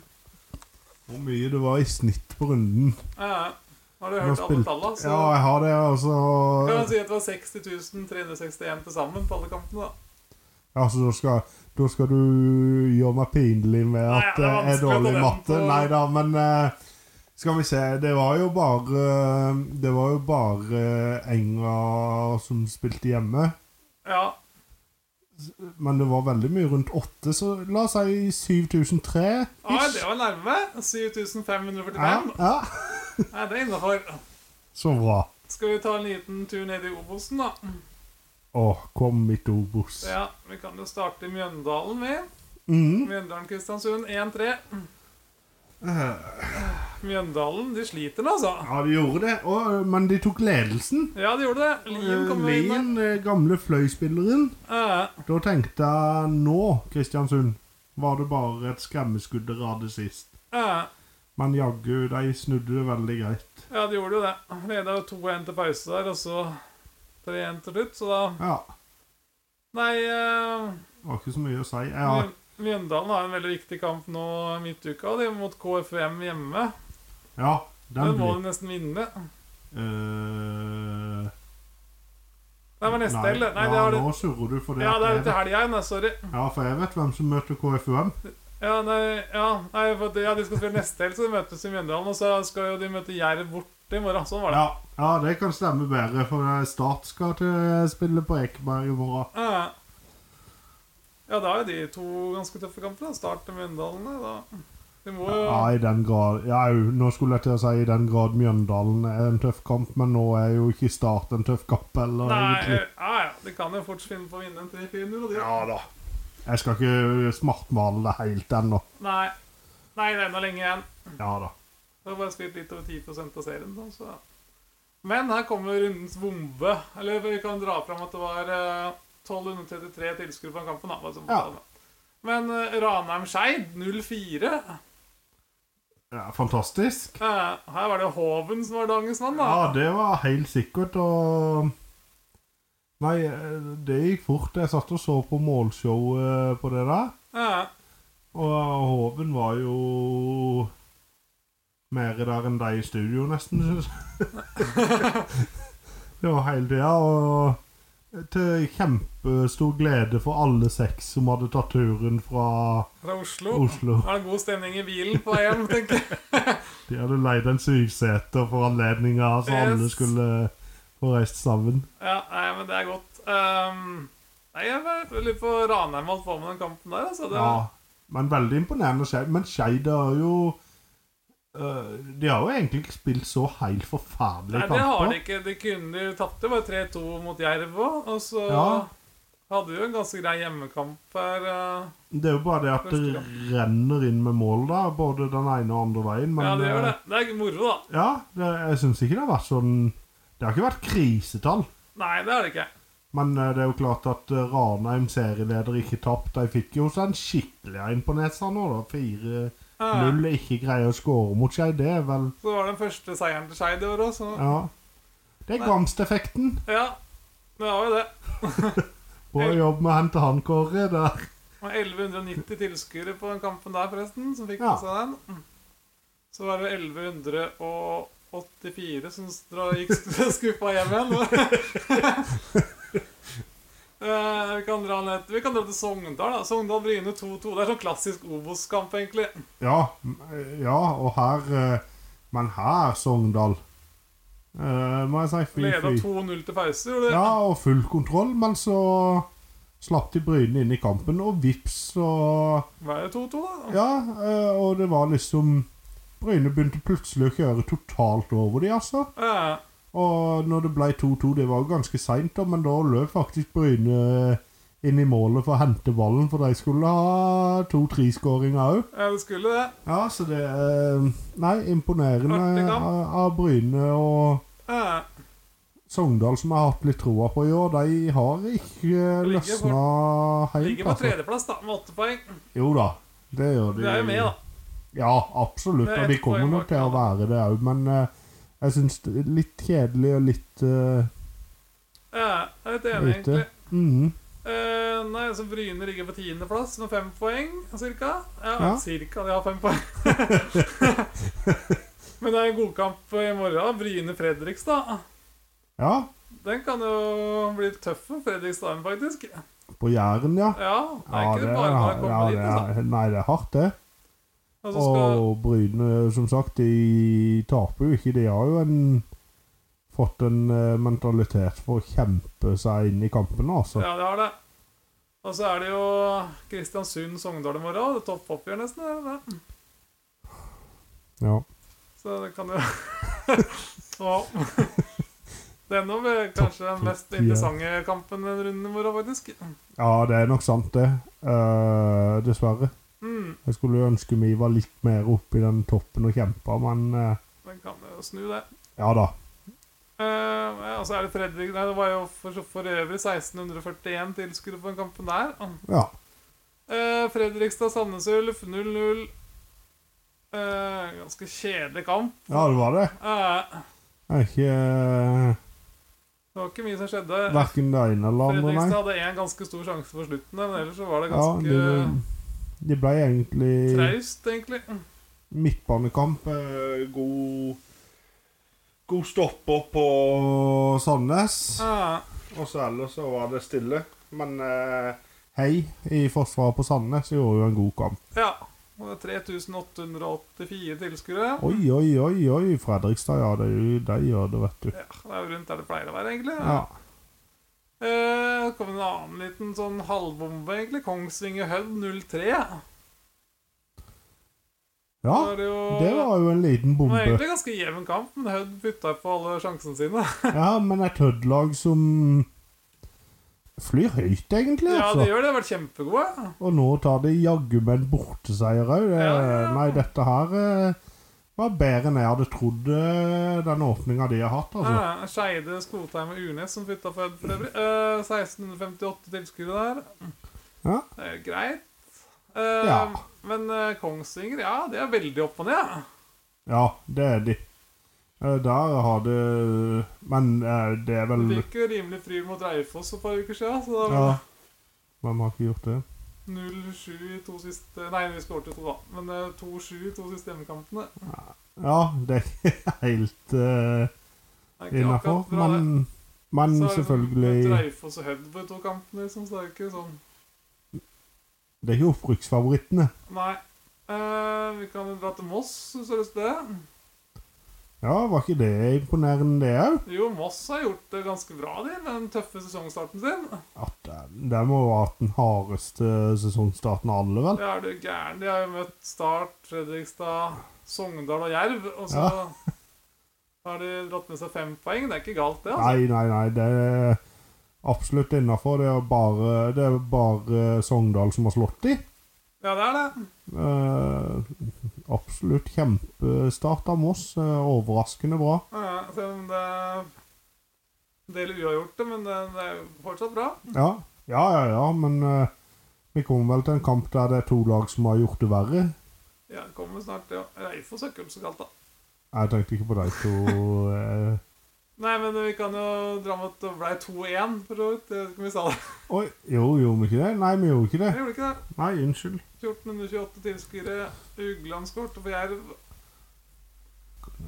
S1: Hvor mye det var i snitt på runden.
S2: Eh, har du
S1: Nå
S2: hørt alle
S1: spilte-
S2: tallene? Så
S1: Ja, jeg har det,
S2: kan man
S1: altså.
S2: si at det var 60.361 til sammen på alle kampene. da.
S1: Altså, da skal, da skal du gjøre meg pinlig med
S2: Nei,
S1: at eh,
S2: det er
S1: jeg er
S2: vanskelig å
S1: dårlig i
S2: få den
S1: matte.
S2: på-
S1: Nei da, men eh, skal vi se Det var jo bare eh, Det var eh, jo bare Enga som spilte hjemme.
S2: Ja,
S1: Men det var veldig mye rundt åtte, så la oss si 7003.
S2: Å, det var nærme. 7545.
S1: Ja, ja.
S2: Nei, det er innafor.
S1: Så bra.
S2: Skal vi ta en liten tur ned i Obosen, da?
S1: Å, kom mitt obos.
S2: Ja, Vi kan jo starte i Mjøndalen, vi.
S1: Mm.
S2: Mjøndalen-Kristiansund 1-3.
S1: Eh.
S2: Mjøndalen, de sliter nå, altså.
S1: Ja, de gjorde det, og, eh, men de tok ledelsen.
S2: Ja, de gjorde det. Lien kom jo inn.
S1: Lien, eh, gamle fløyspilleren,
S2: der. Eh,
S1: da tenkte jeg nå, Kristiansund, var det bare et skremmeskudd dere hadde sist.
S2: eh.
S1: Men jaggu, de snudde det veldig greit.
S2: Ja, de gjorde jo det. Leda jo 2-1 til pause der, og så 3-1 til slutt, så da
S1: Ja,
S2: Nei, eh,
S1: det var ikke så mye å si. Ja,
S2: Mjø- Mjøndalen har en veldig viktig kamp nå midtuka, og de er mot KFM hjemme.
S1: ja den
S2: Den må
S1: blir
S2: de nesten vinne.
S1: Eh,
S2: Nei, men neste helg. Nei,
S1: ja,
S2: det har de
S1: nå surrer du for det.
S2: Ja,
S1: at
S2: det er
S1: jeg
S2: til
S1: vet-
S2: helga igjen, da, sorry.
S1: ja, for jeg vet hvem som møter KFUM.
S2: Ja, nei, ja, nei for at- ja, de skal spille neste helg, så de møtes i Mjøndalen. Og så skal jo de møte Jerv borte i morgen. Sånn var det.
S1: Ja, ja, det kan stemme bedre, for eh, Start skal til spille på Ekeberg i morgen.
S2: Ja, Eh, ja da er jo de to ganske tøffe kamper. da. Start til Mjøndalen, ja, da. De må jo
S1: Ja, i den grad ja, jo, Nå skulle jeg til å si i den grad Mjøndalen er en tøff kamp, men nå er jo ikke Start en tøff kamp heller,
S2: Nei,
S1: egentlig.
S2: ja, ja, de kan jo fort finne på å vinne en 3-4-0. og de-
S1: Ja da. Jeg skal ikke smartmale det helt ennå.
S2: Nei. Nei, det er ennå lenge igjen.
S1: Ja da.
S2: Det har bare spilt litt over 10 av serien. Da, så. Men her kommer rundens bombe. Eller vi kan dra fram at det var eh, 1233 tilskuere på den kampen. Da, bare sånn for
S1: Ja.
S2: å ta det. Men eh, Ranheim-Skeid 04
S1: Ja, fantastisk.
S2: Eh, Her var det Hoven som var dagens mann, da.
S1: Ja, det var helt sikkert, og Nei, eh, det gikk fort. Jeg satt og så på målshowet på det der,
S2: Eh,
S1: og Hoven var jo mer der enn deg i studio, nesten, syns jeg. det var hele tida, og til kjempestor glede for alle seks som hadde tatt turen fra
S2: Fra Oslo.
S1: Oslo.
S2: Var det god stemning i bilen på vei hjem, tenker jeg.
S1: De hadde leid en syvseter for anledninga, så alle
S2: Yes.
S1: skulle eh, få reist sammen.
S2: Ja, nei, men det er godt. Ehm, nei, jeg var litt på Ranheim holdt på med den kampen der, altså. Det,
S1: Ja, men veldig imponerende Skeid. Men Skeid har jo øh, De har jo egentlig ikke spilt så helt
S2: Nei,
S1: forferdelige
S2: det har de
S1: kamper.
S2: ikke. De kunne de tapte bare 3-2 mot Jerv òg. Og så
S1: Ja.
S2: hadde de jo en ganske grei hjemmekamp her. eh.
S1: Det, er jo bare det at det renner inn med mål, da. Både den ene og andre veien. Men
S2: ja, det gjør det.
S1: øh,
S2: Det er moro, da.
S1: ja, det, jeg syns ikke det har vært sånn Det har ikke vært krisetall.
S2: Nei, det er det ikke.
S1: Men øh, det er jo klart at øh, Ranheim, serieleder, ikke tapt. De fikk jo seg en skikkelig en på nesa nå, da. Fire
S2: Eh,
S1: Null ikke greier å skåre mot Skeid, det er vel
S2: Så var det den første seieren til Skeid i år òg, så
S1: Ja. Det er Gamst-effekten.
S2: ja. Det var jo det.
S1: På jobb med å hente han, Kåre. Der.
S2: Det var 1190 tilskuere på den kampen der, forresten, som fikk
S1: Ja.
S2: med seg den. Mm. Så var det 1184 som dra- gikk skuffa hjem igjen. Eh, vi, kan dra ned, vi kan dra til Sogndal. da Sogndal-Bryne 2-2. Det er sånn klassisk Obos-kamp, egentlig.
S1: Ja, m- ja, og her eh, Men her, Sogndal eh, Må jeg si
S2: Leda
S1: fy-fy.
S2: 2-0 til pause. Gjorde det.
S1: Ja, og full kontroll, men så slapp de Bryne inn i kampen, og vips, så
S2: Var det 2-2, da?
S1: Ja, eh, og det var liksom Bryne begynte plutselig å kjøre totalt over de, altså.
S2: Eh,
S1: Og når det ble 2-2, det var jo ganske seint, men da løp faktisk Bryne eh, inn i målet for å hente ballen, for de skulle ha to-tre-skåringer òg.
S2: ja, det skulle det.
S1: Ja, så det eh, Nei,
S2: Artig
S1: imponerende
S2: kamp.
S1: av av Bryne og
S2: Eh,
S1: Sogndal, som jeg har hatt litt troa på i år. De har ikke
S2: Ligger på-
S1: løsna helt.
S2: ligger på
S1: Altså.
S2: tredjeplass, da, med åtte poeng.
S1: Jo da, det gjør de.
S2: Det er jo med, da.
S1: Ja, absolutt.
S2: Det er
S1: Og de
S2: ett
S1: kommer
S2: poeng
S1: nok
S2: bak,
S1: til å
S2: ja.
S1: være det òg, men eh, jeg syns det er litt kjedelig og litt eh,
S2: Eh, jeg er litt enig,
S1: Ute.
S2: egentlig.
S1: mhm.
S2: Eh, nei, altså Bryne ligger på tiendeplass med fem poeng, cirka. Ja,
S1: Ja.
S2: cirka, de har fem poeng. Men det er en godkamp i morgen. Bryne-Fredrikstad.
S1: Ja.
S2: Den kan jo bli tøff for Fredrikstad, faktisk. Ja,
S1: På Jæren, ja.
S2: det er
S1: Ja,
S2: ikke
S1: det
S2: bare bare å
S1: er,
S2: komme
S1: ja,
S2: dit.
S1: det
S2: Altså.
S1: er, nei, det er hardt, det.
S2: Og så skal,
S1: Og Bryne, som sagt, de taper jo ikke. De har jo en, fått en eh, mentalitet for å kjempe seg inn i kampene, altså.
S2: ja, det har det. Og så er det jo Kristiansund, Sogndal i morgen. Det er toppoppgjør nesten. Er det det?
S1: Ja.
S2: Så det kan jo Og Det er nå vel kanskje den mest
S1: Toppoppgjør.
S2: interessante kampen den runden i morgen, faktisk.
S1: ja, det er nok sant, det. Eh, dessverre.
S2: Mm,
S1: Jeg skulle jo ønske vi var litt mer oppe i den toppen og kjempa, men eh,
S2: den kan jo snu, det.
S1: ja da.
S2: Eh, ja, og så er det tredje Nei, det var jo for, for øvrig 1641 tilskuere på den kampen der.
S1: Ja.
S2: Eh, Fredrikstad-Sandnes Ulf 0-0. Eh, ganske kjedelig kamp.
S1: ja, det var det.
S2: Eh,
S1: Det er ikke eh,
S2: det var ikke mye som skjedde.
S1: verken det ene eller det
S2: Fredrikstad
S1: andre, nei.
S2: hadde én ganske stor sjanse på slutten, der, men ellers så var det
S1: Ja,
S2: ganske
S1: de, de ble egentlig
S2: traust, egentlig.
S1: midtbanekamp. eh, God God stopper på Sandnes.
S2: Eh,
S1: Og så ellers så var det stille. Men eh, hei i forsvaret på Sandnes gjorde jo en god kamp.
S2: ja. Og det er 3884 tilskuere.
S1: Oi, oi, oi, oi, Fredrikstad. Ja, det, er jo- de gjør det, vet du.
S2: Ja, det er jo rundt der det pleier å være, egentlig.
S1: Ja.
S2: Eh, det kom en annen liten sånn halvbombe, egentlig. Kongsvinger Hødd 03.
S1: ja.
S2: Da er det, jo,
S1: Det var jo en liten
S2: det var
S1: bombe.
S2: egentlig ganske jevn kamp, men Hødd bytta på alle sjansene sine.
S1: Ja, men et Hødd-lag som flyr høyt, egentlig.
S2: Ja, de
S1: altså.
S2: gjør det. De har vært kjempegode.
S1: Og nå tar de jaggu meg en borteseier òg. Det-
S2: Ja, ja, ja.
S1: Nei, dette her eh, var bedre enn jeg hadde trodd eh, den åpninga de har hatt, altså.
S2: Eh, Skeide, Skotheim og Urnes som flytta for Hødd for øvrig. Eh, 1658 tilskuere der.
S1: Ja.
S2: Det er jo greit. Eh,
S1: Ja.
S2: Men eh, Kongsvinger, ja, de er veldig opp og ned.
S1: Ja, det er de. Eh, Der har det Men eh, det er
S2: De
S1: vel
S2: fikk jo rimelig fri mot Reifoss for et par uker siden, så da
S1: Ja. Hvem har ikke gjort det?
S2: 0-7 i to siste Nei, vi skåret jo to, da. Men eh, 2-7 i to siste hjemmekampene.
S1: Ja, det er ikke helt uh,
S2: Det er ikke
S1: innafor.
S2: akkurat bra, det.
S1: Men, men
S2: Så er det sånn mot
S1: selvfølgelig
S2: Raufoss og Hødd på de to kampene, liksom, så det er jo ikke sånn
S1: Det er ikke opprykksfavorittene.
S2: Nei. Eh, vi kan jo dra til Moss, hvis du har lyst til det.
S1: Ja, var ikke det imponerende, det òg?
S2: Jo, Moss har gjort det ganske bra, de, med den tøffe sesongstarten sin.
S1: At det- Det må ha vært den hardeste sesongstarten av alle, vel?
S2: Det er du gæren. De har jo møtt Start, Fredrikstad, Sogndal og Jerv, og så har de dratt med seg fem poeng. Det er ikke galt, det, altså.
S1: Nei, nei, nei. Det er absolutt innafor. Det er bare, det er bare Sogndal som har slått de.
S2: Ja, det er det.
S1: Eh, absolutt kjempestart av Moss. Eh, overraskende bra.
S2: Ja, selv om det er en del uavgjorte, men det, det er jo fortsatt bra.
S1: Ja, ja, ja, ja men eh, vi kommer vel til en kamp der det er to lag som har gjort det verre.
S2: Ja, det kommer snart, ja. Reifoss er ikke så kaldt, da.
S1: Jeg tenkte ikke på de to. eh.
S2: Nei, men vi kan jo dra med at det ble 2-1, for så vidt. Jeg vet ikke om vi sa det.
S1: Oi, jo, gjorde vi ikke det? Nei, vi gjorde ikke det.
S2: Jeg gjorde ikke det.
S1: Nei, unnskyld.
S2: 1428 tilskuere. Ugland skårte for Jerv.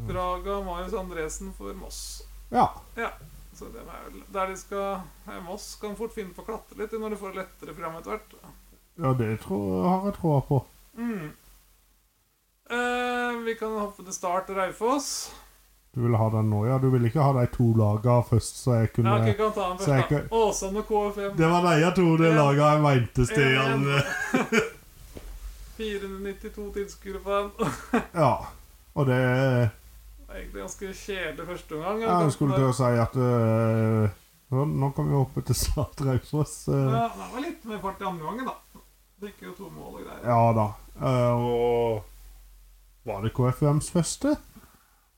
S2: Draga Marius Andresen for Moss.
S1: Ja.
S2: Så det er vel der de skal Nei, Moss kan fort finne på å klatre litt når de får lettere program etter hvert.
S1: ja, det tror, har jeg troa på.
S2: Mm. Eh, vi kan hoppe til start Raufoss.
S1: Du ville ha den nå, ja. Du ville ikke ha de to laga først, så jeg kunne
S2: Ja, ok, kan ta den
S1: så jeg
S2: først, da. Åsane og KFM.
S1: Det var de jeg tror det
S2: Ja.
S1: laget jeg mente, Stian.
S2: 492 tilskuere på den.
S1: Ja. Og det
S2: Det er Egentlig ganske kjedelig første omgang.
S1: ja, Jeg skulle til å si at øh, nå- Nå kan vi hoppe til Start Raufoss. øh.
S2: Ja, det var litt mer fart i andre gangen, da. Fikk jo to mål og greier.
S1: ja da. Eh, og Var det KFUMs første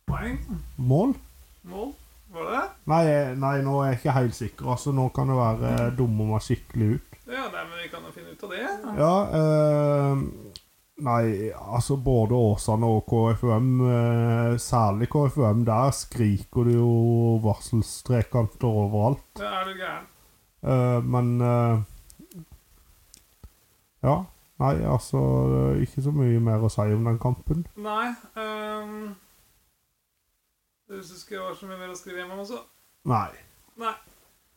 S2: Poeng.
S1: mål?
S2: Mål. Var det det?
S1: Nei, eh, nei, nå er jeg ikke helt sikker. Altså, nå kan det være eh, dumme meg skikkelig ut.
S2: Ja, nei, men vi kan jo finne ut av det.
S1: Ja eh, Nei, altså både Åsane og KFUM, eh, særlig KFUM, der skriker det jo varselstrekanter overalt.
S2: Det er du gæren.
S1: Eh, men eh, Ja. Nei, altså det er Ikke så mye mer å si om den kampen.
S2: Nei ehm, Jeg syns ikke det var så mye mer å skrive hjem om også.
S1: Nei.
S2: Nei.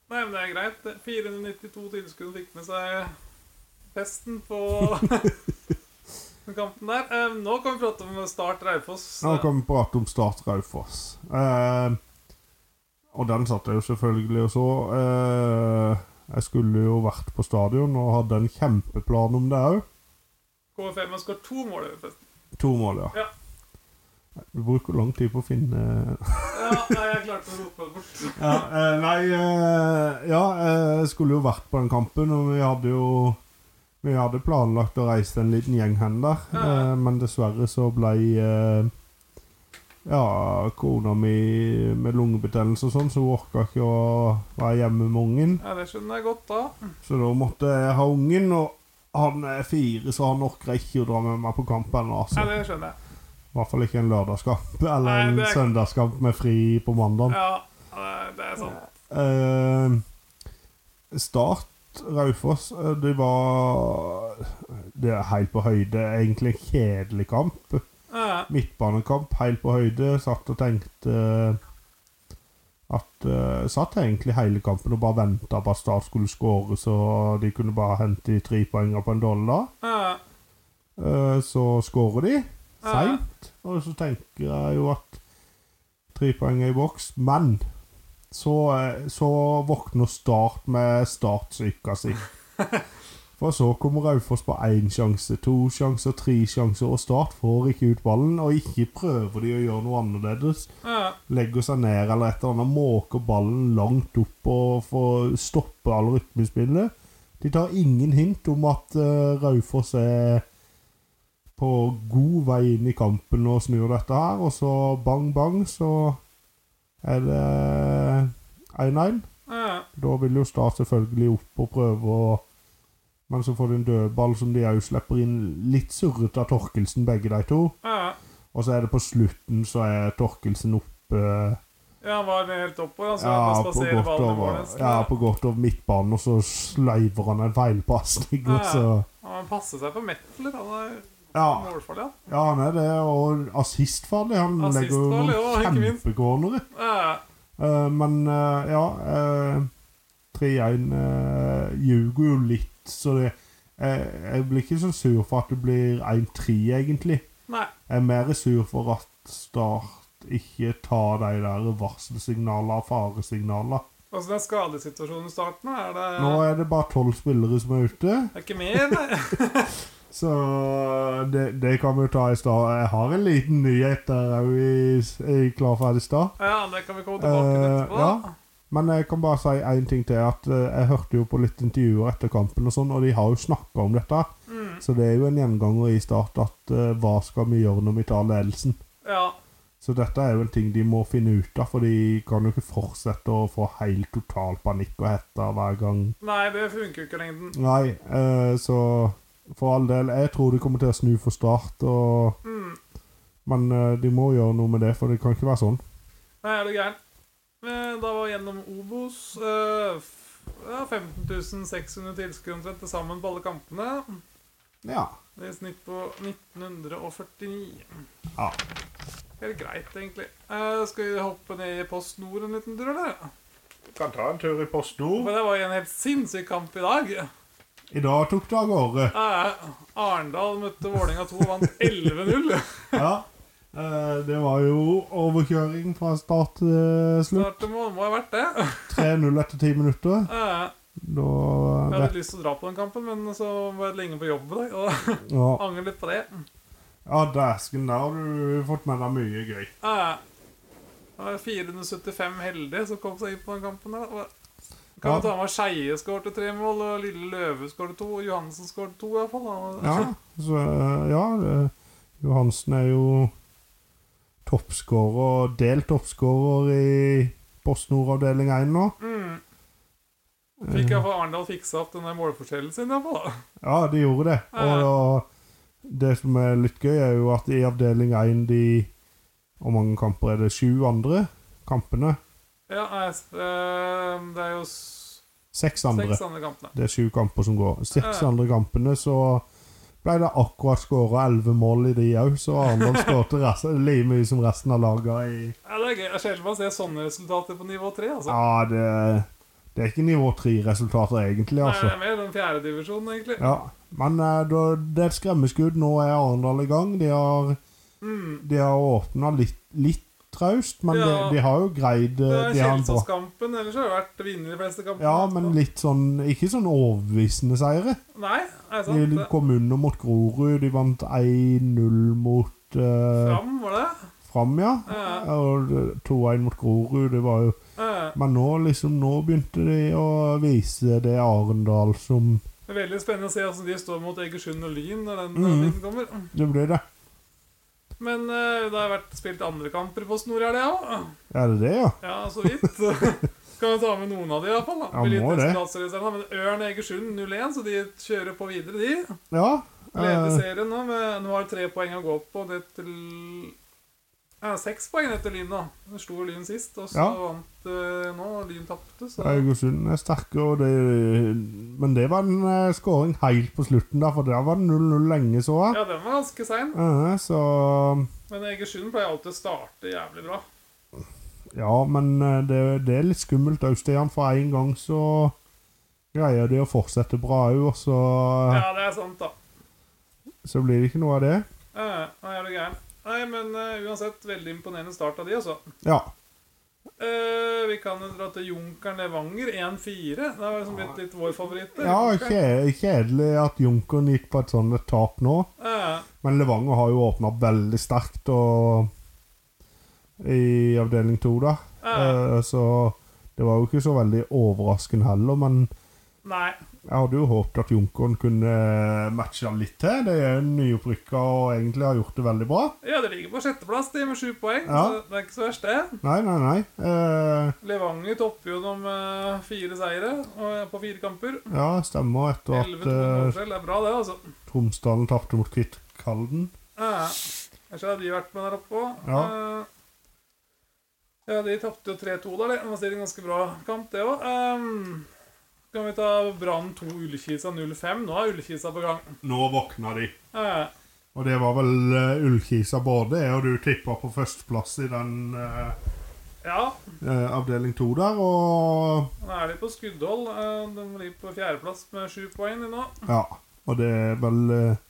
S2: Nei, men det er greit. Det- 492 tilskudd fikk med seg festen på den kampen der. Eh, Nå kan vi prate om Start Raufoss.
S1: Nå kan vi prate om Start Raufoss. Eh, og den satt jeg jo selvfølgelig og så. Eh, Jeg skulle jo vært på stadion og hadde en kjempeplan om det òg.
S2: KFM har skåret to mål over festen.
S1: To mål, ja.
S2: Ja.
S1: Du bruker lang tid på å finne
S2: Ja, nei, jeg klarte å rope det bort.
S1: ja, eh, Nei, eh, ja, eh, jeg skulle jo vært på den kampen, og vi hadde jo Vi hadde planlagt å reise en liten gjeng hen der,
S2: Ja.
S1: eh, men dessverre så ble eh, ja, kona mi med lungebetennelse og sånn, så hun orka ikke å være hjemme med ungen.
S2: Ja, det skjønner jeg godt da.
S1: Så da måtte jeg ha ungen, og han er fire, så han orker ikke å dra med meg på kamp ennå.
S2: Ja,
S1: Altså.
S2: det skjønner jeg.
S1: I hvert fall ikke en lørdagskamp, eller
S2: Nei,
S1: en
S2: det er-
S1: søndagskamp med fri på mandag.
S2: Ja, nei, det er sant.
S1: Eh, start Raufoss, eh, det var Det er helt på høyde. Egentlig en kjedelig kamp.
S2: Ja,
S1: Midtbanekamp helt på høyde. Satt og tenkte eh, at eh, Satt egentlig hele kampen og bare venta på at Start skulle skåre, så de kunne bare hente de tre poengene på en dollar.
S2: ja,
S1: Eh, så skårer de
S2: ja.
S1: seint, og så tenker jeg jo at tre poeng er i boks, men så, eh, så våkner Start med startsyka si. For så kommer Raufoss på én sjanse, to sjanser, tre sjanser, og Start får ikke ut ballen. Og ikke prøver de å gjøre noe annerledes.
S2: ja.
S1: Legger seg ned eller et eller annet, måker ballen langt opp og får stoppe all rytmespillet. De tar ingen hint om at eh, Raufoss er på god vei inn i kampen og snur dette her, og så bang, bang, så er det 1-1.
S2: ja.
S1: Da vil jo Start selvfølgelig opp og prøve å Men så får de en dødball som de òg slipper inn litt surrete av Torkelsen, begge de to.
S2: ja.
S1: Og så er det på slutten så er Torkelsen oppe
S2: Ja, han var helt oppover. Han så
S1: ja,
S2: han
S1: på
S2: spasere
S1: godt
S2: ballen i mål
S1: over,
S2: nesten.
S1: ja, på godt over midtbanen, og så sleiver han en feilpasning, og
S2: Ja.
S1: så
S2: Han passer seg på metler. Han er
S1: ja,
S2: målfarlig, han.
S1: ja, han er det, og assistfarlig. Han legger jo
S2: Assistfarlig, ja, ikke
S1: noen
S2: minst.
S1: kjempecornere.
S2: Ja,
S1: Eh, men eh, ja eh, 3-1 eh, ljuger jo litt, så det jeg, jeg blir ikke så sur for at det blir 1-3, egentlig.
S2: Nei.
S1: Jeg er mer sur for at Start ikke tar de der varselsignalene og faresignalene.
S2: Åssen er skadesituasjonen i starten? Er det,
S1: Nå er det bare tolv spillere som er ute.
S2: det er ikke mer? nei?
S1: Så eh, det, det kan vi jo ta i stad. Jeg har en liten nyhet der òg i, i Klar, ferdig, stad.
S2: Ja, det kan vi komme tilbake til
S1: Eh,
S2: etterpå.
S1: ja. Men jeg kan bare si én ting til. at eh, Jeg hørte jo på litt intervjuer etter kampen, og sånn, og de har jo snakka om dette.
S2: Mm,
S1: Så det er jo en gjenganger i Start at eh, hva skal vi gjøre når vi tar ledelsen?
S2: ja.
S1: Så dette er jo en ting de må finne ut av, for de kan jo ikke fortsette å få helt total panikk og hetta hver gang
S2: Nei, det funker jo ikke i lengden.
S1: Nei, eh, så for all del, jeg tror de kommer til å snu for start, og,
S2: Mm.
S1: men eh, de må gjøre noe med det, for det kan ikke være sånn.
S2: Nei, er du gæren. Eh, Da var gjennom Obos eh, f- ja, 15 600 tilskuere omtrent til sammen på alle kampene.
S1: Ja.
S2: Det er snitt på 1949.
S1: Ja.
S2: Helt greit, egentlig. Eh, skal vi hoppe ned i Post Nord en liten tur, eller?
S1: Kan ta en tur i Post
S2: Men
S1: Nord.
S2: det var jo en helt sinnssyk kamp i dag.
S1: I dag tok det av gårde.
S2: Eh, Arendal møtte Vålerenga 2 og vant 11-0.
S1: Ja. Eh, det var jo overkjøring fra start til slutt.
S2: Snart det må, må ha vært det.
S1: 3-0 etter ti minutter.
S2: Eh,
S1: Da
S2: jeg hadde lyst til å dra på den kampen, men så var jeg lenge på jobb i dag, og
S1: Ja,
S2: angrer litt på det.
S1: ja dæsken, der har du fått med deg mye gøy.
S2: Ja. Det var 475 heldige som kom seg inn på den kampen. Der. da. Kan
S1: Ja.
S2: vi ta med Skeie skårte tre mål, og Lille Løve skårte to, og Johansen skårte to. i hvert fall. da.
S1: Ja, så, eh, ja det, Johansen er jo toppskårer, delt toppskårer i Post Nord avdeling 1 nå.
S2: Mm. Fikk iallfall Arendal fiksa opp den der målforskjellen sin. i hvert fall, da.
S1: Ja, de gjorde det. Og, da, det som er litt gøy, er jo at i avdeling 1 de Hvor mange kamper er det? Sju andre kampene?
S2: Ja, nei, s- eh, Det er jo s-
S1: Seks andre.
S2: seks andre kampene.
S1: Det er sju kamper som går. Seks
S2: Ja.
S1: andre kampene, så ble det akkurat skåra elleve mål i de òg, så Arendal skårte resten- like mye som resten av lagene i
S2: Ja, det er gøy. Det er sjelden man ser sånne resultater på nivå tre. altså.
S1: Ja, det, det er ikke nivå tre-resultater, egentlig.
S2: Nei,
S1: altså.
S2: det er mer den fjerde divisjonen, egentlig.
S1: Ja, Men eh, da, det er et skremmeskudd. Nå er Arendal i gang. De har,
S2: Mm.
S1: de har åpna litt, litt traust, men
S2: Ja.
S1: de, de har jo greid
S2: Det
S1: eh,
S2: er
S1: de har en bra.
S2: Kjelsås-kampen. Ellers har det vært vinner i de fleste kampene.
S1: Ja, men litt sånn Ikke sånn overbevisende seire.
S2: Nei, er det sant?
S1: De
S2: Det-
S1: kom under mot Grorud. De vant 1-0 mot eh,
S2: Fram, var det?
S1: Fram, ja.
S2: Ja.
S1: Og 2-1 mot Grorud. Det var jo
S2: Ja.
S1: Men nå liksom Nå begynte de å vise det Arendal som
S2: Det er veldig spennende å se hvordan de står mot Egersund og Lyn når den
S1: Mhm.
S2: tiden kommer.
S1: Det ble det.
S2: Men eh, det har vært spilt andre kamper på snor her, det òg.
S1: Er det det, ja?
S2: Ja, så vidt. Kan vi ta med noen av de, iallfall.
S1: Ja, må det.
S2: Men Ørn og Egersund 0-1, så de kjører på videre, de.
S1: Ja.
S2: Leder
S1: eh,
S2: serien nå. Med, nå har de tre poeng å gå på. Det er til ja, Seks poeng etter Lyn, da. Det slo Lyn sist, og så
S1: Ja.
S2: vant eh, nå. og Lyn tapte, så
S1: Haugesund er sterke, og det, men det var en eh, skåring helt på slutten, der, for der var det 0-0 lenge, så jeg.
S2: Ja, den var ganske sein.
S1: Eh, så
S2: Men Egersund pleier alltid å starte jævlig bra.
S1: Ja, men eh, det, det er litt skummelt òg, Stian. For en gang så greier de å fortsette bra òg, og så,
S2: Ja, det er sant, da.
S1: så blir det ikke noe av det.
S2: Ja, ja, Nei, er du gæren. Nei, men eh, uansett, veldig imponerende start av de, altså.
S1: Ja.
S2: Eh, vi kan jo dra til Junkeren Levanger 1-4. Det har liksom blitt litt vår favoritt.
S1: ja kje- kjedelig at Junkeren gikk på et sånt et tap nå.
S2: Ja,
S1: Men Levanger har jo åpna veldig sterkt og i avdeling to, da.
S2: ja.
S1: Eh, Så det var jo ikke så veldig overraskende heller, men
S2: Nei.
S1: jeg hadde jo håpet at Junkeren kunne matche dem litt til. De er nyopprykka og egentlig har gjort det veldig bra.
S2: Ja, det ligger på sjetteplass, de, med sju poeng.
S1: Ja.
S2: Så det er ikke så verst, det.
S1: Nei, nei, nei. Eh,
S2: Levanger topper jo dem eh, fire seire og- på fire kamper.
S1: ja, stemmer. Etter
S2: Elleve
S1: at
S2: til null
S1: eh,
S2: forskjell. Det er bra, det, altså.
S1: Tromsdalen tapte mot Kvittkalden.
S2: Ja. Ellers hadde de vært med der oppe òg.
S1: Ja.
S2: ja, de tapte jo 3-2 der, det. Det var stilt en ganske bra kamp, det òg. kan vi ta Brann 2, Ullkisa 0-5. Nå er Ullkisa på gang.
S1: Nå våkna de.
S2: Ja.
S1: Og det var vel eh, Ullkisa både, jeg og du tippa på førsteplass i den eh,
S2: Ja,
S1: eh, avdeling to der, og
S2: nå er de på skuddhold. Eh, De ligger på fjerdeplass med sju poeng de nå.
S1: Ja. Og det er vel eh,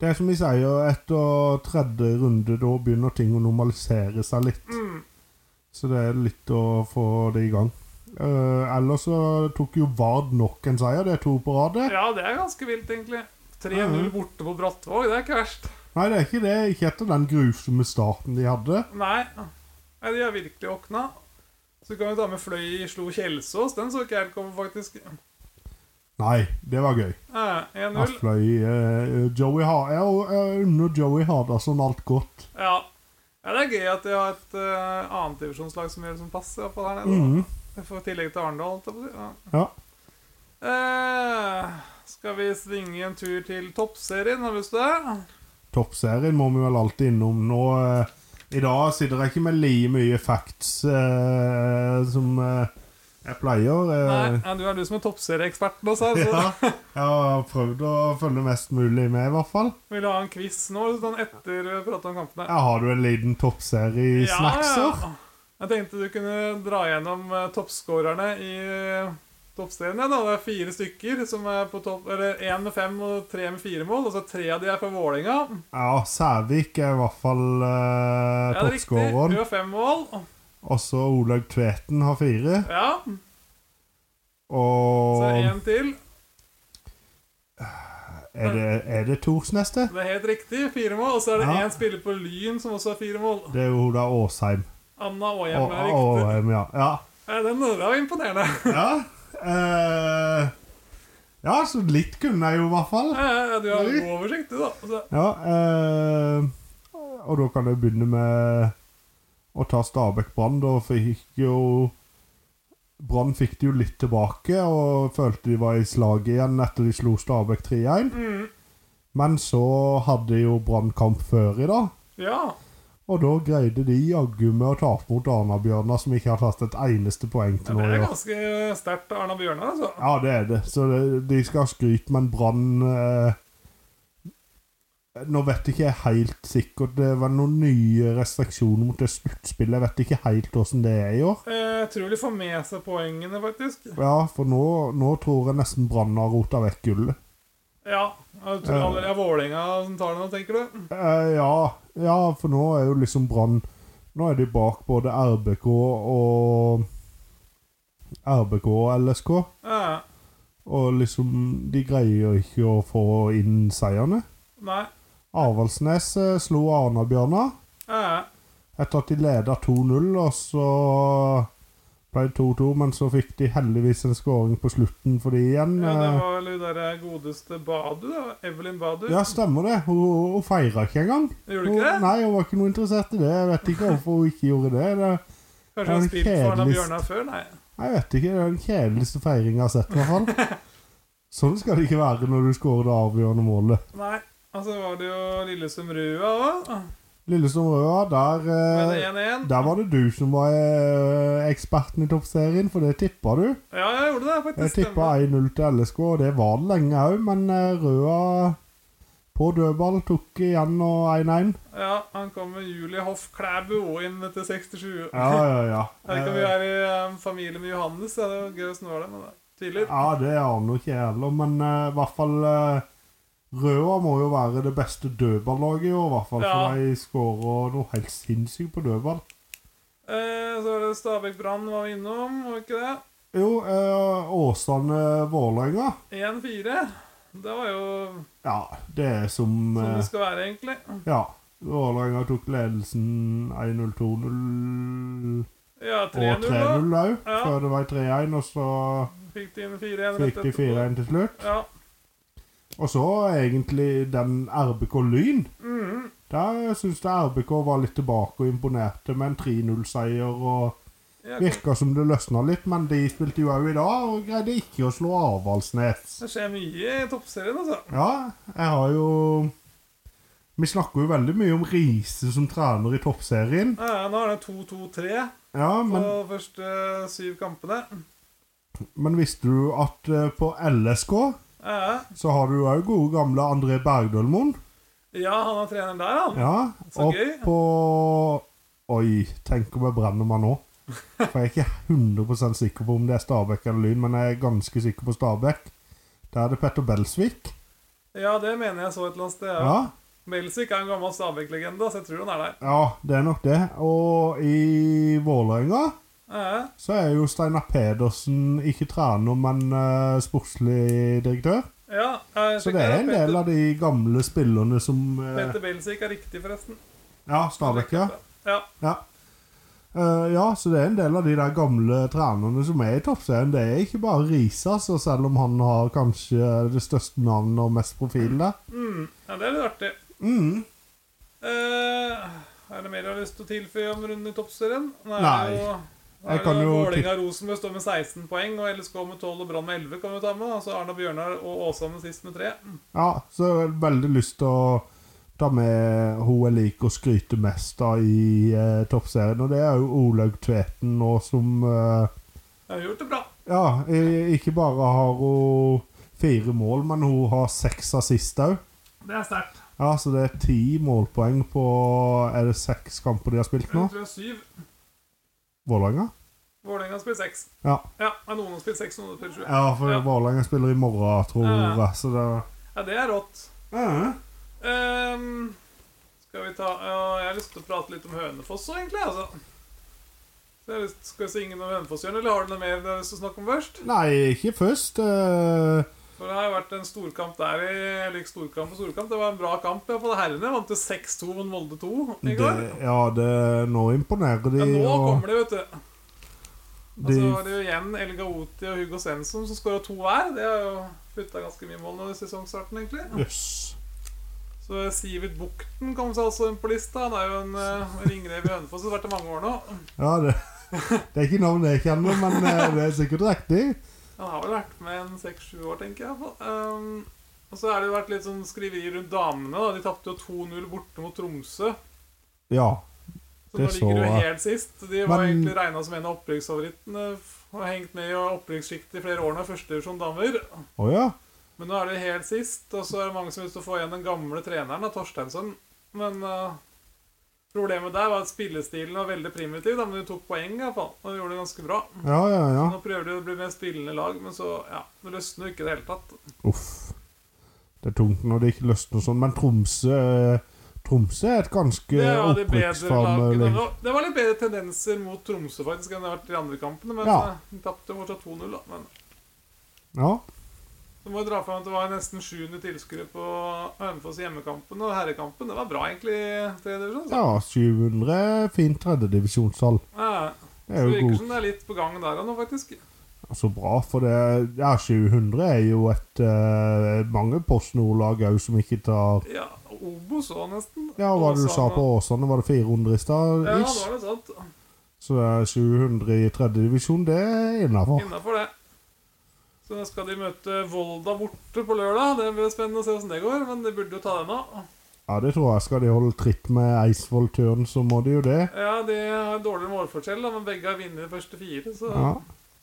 S1: Det er som vi sier, etter tredje runde da begynner ting å normalisere seg litt.
S2: Mm.
S1: Så det er litt å få det i gang. Eh, ellers så tok jo Vard nok en seier. Det er to på rad. det.
S2: Ja, det er ganske vilt, egentlig. 3-0 borte på Brattvåg, det er ikke verst.
S1: Nei, det er ikke det. Ikke etter den grusomme starten de hadde.
S2: Nei, Nei de har virkelig våkna. Så kan vi ta med Fløy slo Kjelsås. Den så ikke jeg helt komme, faktisk.
S1: Nei, det var gøy.
S2: Eh, 1-0.
S1: Afløy eh, Joey Har... Jeg jeg unner eh, Joey Hardasson alt godt.
S2: Ja. ja, det er gøy at de har et uh, annet divisjonslag som gjør det som passer. Oppå der nede.
S1: Mhm.
S2: For i tillegg til Arendal. holdt jeg på å si. Ja.
S1: Ja.
S2: Eh, skal vi svinge en tur til toppserien, har du lyst til det?
S1: Toppserien må vi vel alltid innom. Nå eh, I dag sitter jeg ikke med like mye facts eh, som eh, jeg pleier.
S2: Nei,
S1: eh.
S2: ja, du er du som er toppserieeksperten også her. Så
S1: ja, jeg har prøvd å følge mest mulig med, i hvert fall.
S2: vil du ha en quiz nå sånn etter vi prater om kampene?
S1: Ja, har du en liten toppserie i snackser?
S2: Jeg tenkte du kunne dra gjennom eh, toppskårerne i eh, toppserien. ja, Da. Det er fire stykker som er på topp Eller én med fem og tre med fire mål. Og så tre av de er fra Vålerenga.
S1: Ja, Sævik er i hvert fall eh,
S2: Ja, det er riktig.
S1: toppskåreren.
S2: Du har fem mål.
S1: Også Olaug Tveten har fire.
S2: Ja, så
S1: Og
S2: én til.
S1: Er det, er det Tors neste?
S2: Det er helt riktig. Fire mål. Og så er det én
S1: Ja.
S2: spiller på Lyn som også har fire mål.
S1: Det er jo hun der Åsheim.
S2: Anna Åhjem er riktig.
S1: Åheim, ja. Ja.
S2: Ja, Den den var imponerende.
S1: Ja. eh, ja, så litt kunne jeg jo i hvert fall.
S2: Ja, ja, du har
S1: Oi.
S2: god oversikt, du, da. Så-
S1: Ja, eh, og da kan jeg begynne med å ta Stabæk Brann. Da fikk jo Brann fikk det jo litt tilbake, og følte de var i slaget igjen etter de slo Stabæk 3-1.
S2: Mm.
S1: Men så hadde jo Brann kamp før i dag.
S2: Ja.
S1: Og da greide de jaggu med å tape mot Arna-Bjørnar, som ikke har tatt et eneste poeng
S2: ja,
S1: til
S2: det
S1: nå i
S2: er
S1: år.
S2: ganske sterkt av Arna Bjørnar, altså.
S1: Ja, det er det. Så det, de skal ha skryt, men Brann eh, Nå vet jeg ikke helt sikkert Det var noen nye restriksjoner mot det sluttspillet. Jeg vet ikke helt åssen det er i år.
S2: Eh, Jeg tror de får med seg poengene, faktisk.
S1: Ja, for nå, nå tror jeg nesten Brann har rota vekk gullet.
S2: Ja. Jeg tror
S1: Ja.
S2: aldri det er Vålerenga som tar det nå, tenker du?
S1: Eh, ja, ja, for nå er jo liksom Brann Nå er de bak både RBK og RBK og LSK.
S2: Ja,
S1: Og liksom De greier ikke å få inn seierne.
S2: nei.
S1: Avaldsnes eh, slo Arna-Bjørnar
S2: Ja,
S1: etter at de leda 2-0, og så ble det 2-2, men så fikk de heldigvis en skåring på slutten for de igjen.
S2: ja, det
S1: eh,
S2: var vel hun der godeste Badu, da. Evelyn Badu.
S1: Ja, stemmer det. Hun, hun feira ikke engang.
S2: Gjorde
S1: Hun,
S2: du ikke det?
S1: nei, hun var ikke noe interessert i det. Jeg vet ikke hvorfor hun ikke gjorde det. det
S2: Kanskje hun har
S1: det
S2: spilt for Arna
S1: kjedeligst.
S2: Bjørnar før? Nei.
S1: jeg vet ikke, det er den kjedeligste feiringa jeg har sett, i hvert fall. Sånn skal det ikke være når du skårer det avgjørende målet.
S2: Nei. Og så var det jo Lillesund Rua òg.
S1: Lillesund Røa, der,
S2: Med
S1: eh,
S2: 1-1.
S1: der var det du som var eh, eksperten i toppserien, for det tippa du.
S2: Ja, jeg gjorde det
S1: Jeg
S2: faktisk.
S1: tippa 1-0 til LSK, og det var det lenge òg, men eh, Røa på dødball tok igjen og 1-1.
S2: Ja, han kom med Julie Hoff Klæbu også inn etter 67.
S1: Ja, ja, ja.
S2: Jeg vet ikke om vi er i eh, familie med Johannes. Ja, det var gøy å snåle, men det er tydelig.
S1: Eh, Ja, det aner ikke jeg heller, men eh, i hvert fall eh, Røa må jo være det beste dødballaget i år, i hvert fall.
S2: Ja.
S1: For de skårer noe helt sinnssykt på dødball.
S2: Eh, så var det Stabæk Brann var vi innom, var ikke det?
S1: Jo, eh, Åsane-Vålerenga.
S2: 1-4. Det var jo
S1: Ja, det er som
S2: som
S1: eh,
S2: det skal være, egentlig.
S1: Ja. Vålerenga tok ledelsen 1-0-2-0
S2: Ja,
S1: og
S2: 3-0, da.
S1: 3-0 òg,
S2: Ja.
S1: før det var 3-1, og så
S2: Fikk de inn 4-1
S1: fikk de 4-1 til slutt.
S2: Ja.
S1: Og så egentlig den RBK Lyn.
S2: Mhm.
S1: Der syns jeg RBK var litt tilbake og imponerte med en 3-0-seier. og
S2: Ja,
S1: Virka som det løsna litt, men de spilte jo òg i dag og greide ikke å slå Avaldsnes.
S2: det skjer mye i toppserien, altså.
S1: Ja, jeg har jo Vi snakker jo veldig mye om Riise som trener i toppserien.
S2: Ja, ja, nå er det 2-2-3
S1: Ja,
S2: på
S1: men,
S2: første syv kampene.
S1: men visste du at eh, på LSK
S2: Ja, ja.
S1: så har du òg gode gamle André Bergdølmoen?
S2: Ja, han er treneren der, han.
S1: Ja,
S2: Så
S1: og
S2: gøy.
S1: på Oi, tenk om jeg brenner meg nå. For jeg er ikke 100 sikker på om det er Stabæk eller Lyn, men jeg er ganske sikker på Stabæk. Der er det Petter Belsvik.
S2: Ja, det mener jeg så et eller annet sted. Ja.
S1: Ja,
S2: Melsvik er en gammel Stabæk-legende, så jeg tror han er der.
S1: ja det er nok det. Og i Vålerenga
S2: Ja, ja.
S1: så er jo Steinar Pedersen ikke trener, men eh, sportslig direktør.
S2: ja jeg
S1: Så det er en del av de gamle spillerne som eh,
S2: Petter Belsvik er riktig, forresten.
S1: Ja, Stabæk, ja.
S2: Ja,
S1: Ja. Eh, ja, så det er en del av de der gamle trenerne som er i toppserien. Det er ikke bare Riise, altså, selv om han har kanskje det største navnet og mest profil der.
S2: mm. ja det er litt artig.
S1: Mm.
S2: Eh, er det mer jeg har lyst til å tilføye om runden i toppserien? Nå er
S1: Nei.
S2: det jo- nå er
S1: Jeg kan
S2: det
S1: jo
S2: Vålerenga-Rosenborg står med 16 poeng, og LSK med 12 og Brann med 11 kan vi ta med. Altså Arna Bjørnar og Åsane sist med 3.
S1: Ja, så jeg har veldig lyst til å ta med hun jeg liker å skryte mest av i eh, toppserien, og det er jo Olaug Tveten nå som eh,
S2: Jeg har gjort det bra.
S1: Ja, i- ikke bare har hun fire mål, men hun har seks assist òg.
S2: Det er sterkt.
S1: Ja, så det er ti målpoeng på Er det seks kamper de har spilt nå?
S2: Jeg tror det er syv.
S1: Vålerenga?
S2: Vålerenga har spilt seks.
S1: Ja.
S2: Ja, men noen har spilt seks, noen har spilt sju.
S1: Ja, for
S2: Ja.
S1: Vålerenga spiller i morgen, tror
S2: Ja.
S1: jeg. Så det
S2: Ja, det er rått.
S1: ja.
S2: Ehm, skal vi ta ja, Jeg har lyst til å prate litt om Hønefoss òg, egentlig. Altså. Så jeg har lyst, skal vi synge noe om Hønefoss, Jørn, eller har du noe mer du har lyst til å snakke om først?
S1: Nei, ikke først. eh,
S2: For det har jo vært en storkamp der i Eller ikke storkamp og storkamp, det var en bra kamp. Ja, på det herrene vant jo 6-2 mot Molde 2 i
S1: det,
S2: går.
S1: ja, det, nå imponerer de.
S2: Ja, nå
S1: og
S2: kommer det, vet du. Og
S1: de
S2: så var det Altså, jo igjen El Gaoti og Hugo Svensson som skåra to hver. Det har jo putta ganske mye mål nå i sesongstarten, egentlig.
S1: Jøss.
S2: Så Sivert Bukten kom seg også inn på lista. Han er jo en eh, ringrev i Hønefoss som har vært det mange år nå.
S1: Ja, det, det er ikke navn jeg kjenner, men eh, det er sikkert riktig.
S2: Han har vel vært med en seks-sju år, tenker jeg. i hvert fall. Ehm, og så har det jo vært litt sånn skriveri rundt damene. da. De tapte jo 2-0 borte mot Tromsø.
S1: Ja.
S2: Så
S1: Det
S2: nå ligger
S1: så
S2: du
S1: jeg.
S2: helt sist. De var
S1: Men-
S2: egentlig regna som en av opprykksfavorittene. f- Har hengt med i opprykkssjiktet i flere år nå, første divisjon damer.
S1: Å ja.
S2: Men nå er det helt sist, og så er det mange som vil få igjen den gamle treneren, da, Torsteinsson. Men eh, problemet der var at spillestilen var veldig primitiv, da, men de tok poeng i hvert fall, og de gjorde det ganske bra.
S1: Ja, ja, ja.
S2: Nå prøver de å bli mer spillende lag, men så ja, det løsner jo ikke i det hele tatt.
S1: Uff. Det er tungt når det ikke løsner sånn, men Tromsø eh, Tromsø er et ganske eh,
S2: Det var de bedre lagene.
S1: opprykksfarende
S2: nå. Det var litt bedre tendenser mot Tromsø faktisk enn det har vært i de andre kampene. Men
S1: Ja.
S2: eh, de tapte fortsatt 2-0. da. Men
S1: Ja.
S2: så må jeg dra fram at det var nesten 700 tilskuere på Hønefoss hjemmekampen og herrekampen. Det var bra, egentlig, i tredje divisjon. så.
S1: ja, 700 fint tredjedivisjonstall.
S2: Ja.
S1: Det
S2: Så
S1: er
S2: det
S1: jo
S2: virker
S1: god.
S2: som det er litt på gang der nå, faktisk.
S1: Så bra, for det Ja, 700 er jo et eh, mange Post Nord-lag òg som ikke tar
S2: Ja, Obos òg, nesten.
S1: Ja, hva var det du sa på Åsane? Var det 400 i stad?
S2: Ja,
S1: ish?
S2: da er det sant.
S1: Så det er 700 i tredjedivisjon, det er innafor.
S2: Innafor det. Så nå skal de møte Volda borte på lørdag. Det blir spennende å se åssen det går, men de burde jo ta den nå.
S1: Ja, det tror jeg. Skal de holde tritt med Eidsvoll Tørn, så må de jo det.
S2: Ja, de har dårligere målforskjell, da, men begge har vunnet de første fire. Så,
S1: Ja.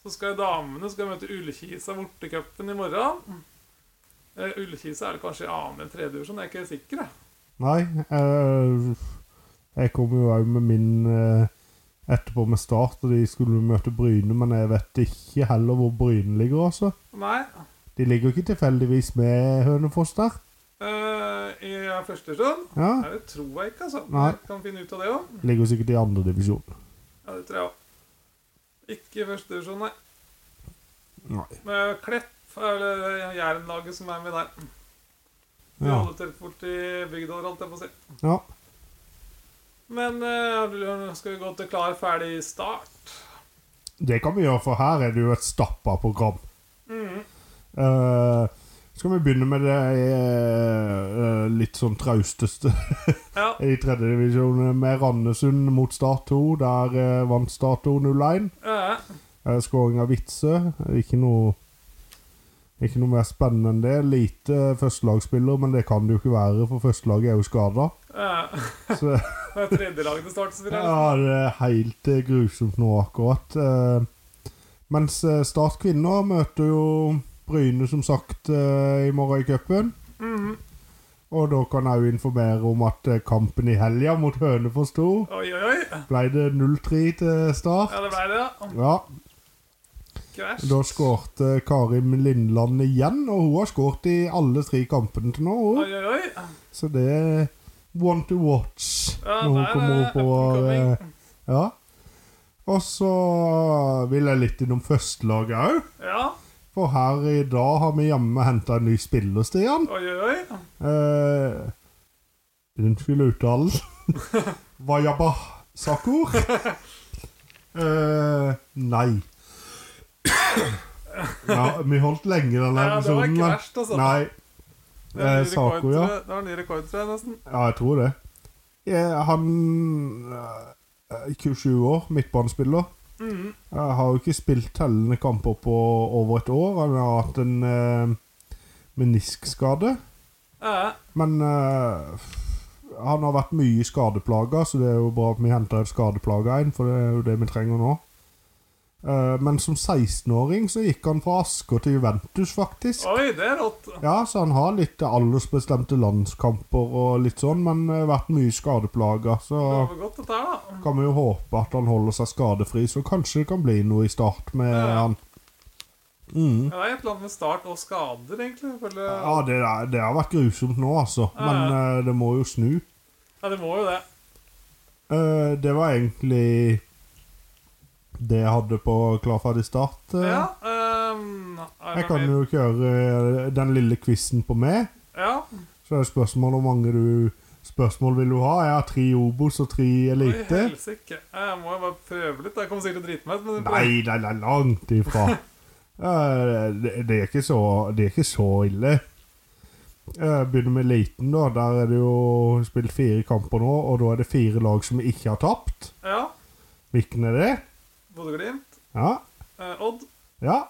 S2: så skal damene skal møte Ullkisa borte i cupen i morgen. Eh, Ullkisa er det kanskje i annen eller tredje divisjon, jeg er ikke helt sikker. jeg.
S1: Nei, eh, jeg kom jo òg med min eh, etterpå med Start, og de skulle møte Bryne, men jeg vet ikke heller hvor Bryne ligger, altså.
S2: Nei.
S1: De ligger ikke tilfeldigvis med Hønefoss der.
S2: eh, I første divisjon?
S1: Ja,
S2: Nei, det tror jeg ikke, altså.
S1: Nei.
S2: Jeg kan finne ut av det òg.
S1: Ligger sikkert i andre divisjon.
S2: Ja, det tror jeg òg. Ikke i første divisjon, nei.
S1: Nei.
S2: Med Klepp, eller eh, Jærenlaget som er med der. De
S1: Ja.
S2: holder til borti bygda, holdt jeg på å si.
S1: ja.
S2: Men eh, skal vi gå til klar, ferdig, start?
S1: Det kan vi gjøre, for her er det jo et stappa program.
S2: Mhm.
S1: Eh, skal vi begynne med det eh, eh, litt sånn trausteste
S2: Ja.
S1: i tredjedivisjon, med Randesund mot Start 2. Der eh, vant Start 2 0-1.
S2: Ja,
S1: Eh, Skåring av Witzøe. Ikke noe Ikke noe mer spennende enn det. Lite førstelagsspiller, men det kan det jo ikke være, for førstelaget er jo skada.
S2: ja.
S1: Så
S2: Det er tredjelaget til start, spiller jeg.
S1: ja, det er helt eh, grusomt nå akkurat. Eh, Mens eh, Start kvinner møter jo Bryne, som sagt, eh, i morgen i cupen.
S2: Mhm.
S1: Og da kan jeg jo informere om at eh, kampen i helga mot Hønefoss 2
S2: Oi, oi, oi.
S1: ble det 0-3 til Start.
S2: Ja, det ble det, ja.
S1: Ja,
S2: Krasj.
S1: Da skårte Karim Lindland igjen, og hun har skåret i alle tre kampene til nå.
S2: Oi,
S1: hun.
S2: oi, oi.
S1: Så det er one to watch
S2: Ja,
S1: når hun
S2: der
S1: kommer
S2: er
S1: oppover.
S2: up and
S1: eh, Ja. Og så vil jeg litt innom førstelaget òg.
S2: Ja.
S1: For her i dag har vi jammen henta en ny spiller, Stian.
S2: Oi, oi, oi.
S1: Eh, unnskyld uttalen. Wayaba Sakur. Eh, nei. Ja, vi holdt lenge i denne
S2: Ja, det var
S1: episoden.
S2: ikke
S1: da.
S2: verst, altså.
S1: Nei,
S2: Det er
S1: eh,
S2: ny rekord,
S1: Sako, ja.
S2: tror jeg. Det var ny rekord, tror jeg, nesten.
S1: ja, jeg tror det. Eh, han eh, 27 år, midtbanespiller.
S2: Mhm.
S1: Jeg har jo ikke spilt tellende kamper på over et år. Han har hatt en eh, meniskskade.
S2: Ja,
S1: Men eh, han har vært mye skadeplaga, så det er jo bra at vi henter et skadeplaga inn, for det er jo det vi trenger nå. Eh, men som 16-åring så gikk han fra Asker til Juventus, faktisk.
S2: Oi, det er rått.
S1: Ja, så han har litt aldersbestemte landskamper og litt sånn, men har vært mye skadeplaga, så
S2: Det var godt, dette her, da.
S1: kan vi jo håpe at han holder seg skadefri, så kanskje det kan bli noe i start med
S2: Ja.
S1: han. Mm.
S2: Ja, Det er et eller annet med start og skader, egentlig. jeg føler-
S1: Ja, det, er- det har vært grusomt nå, altså.
S2: Ja.
S1: Men eh, det må jo snu.
S2: Ja, det må jo det.
S1: Eh, det var egentlig det jeg hadde på Klar, ferdig, start. eh.
S2: Ja. ehm, er det
S1: jeg kan
S2: mer?
S1: jo kjøre eh, den lille quizen på meg.
S2: Ja.
S1: Så er det spørsmål om hvor mange du spørsmål vil du ha. Jeg har tre Obos og tre
S2: Oi,
S1: Elite.
S2: helsike. Jeg må jo bare prøve litt. da. Jeg kommer sikkert til å drite meg ut, men
S1: Nei, nei, nei, langt ifra. Eh, det, det, er ikke så, det er ikke så ille. Jeg begynner med eliten, da. Der er det jo spilt fire kamper nå, og da er det fire lag som ikke har tapt.
S2: Ja.
S1: Hvilken er det?
S2: Bodø-Glimt,
S1: Ja.
S2: eh, Odd
S1: Ja.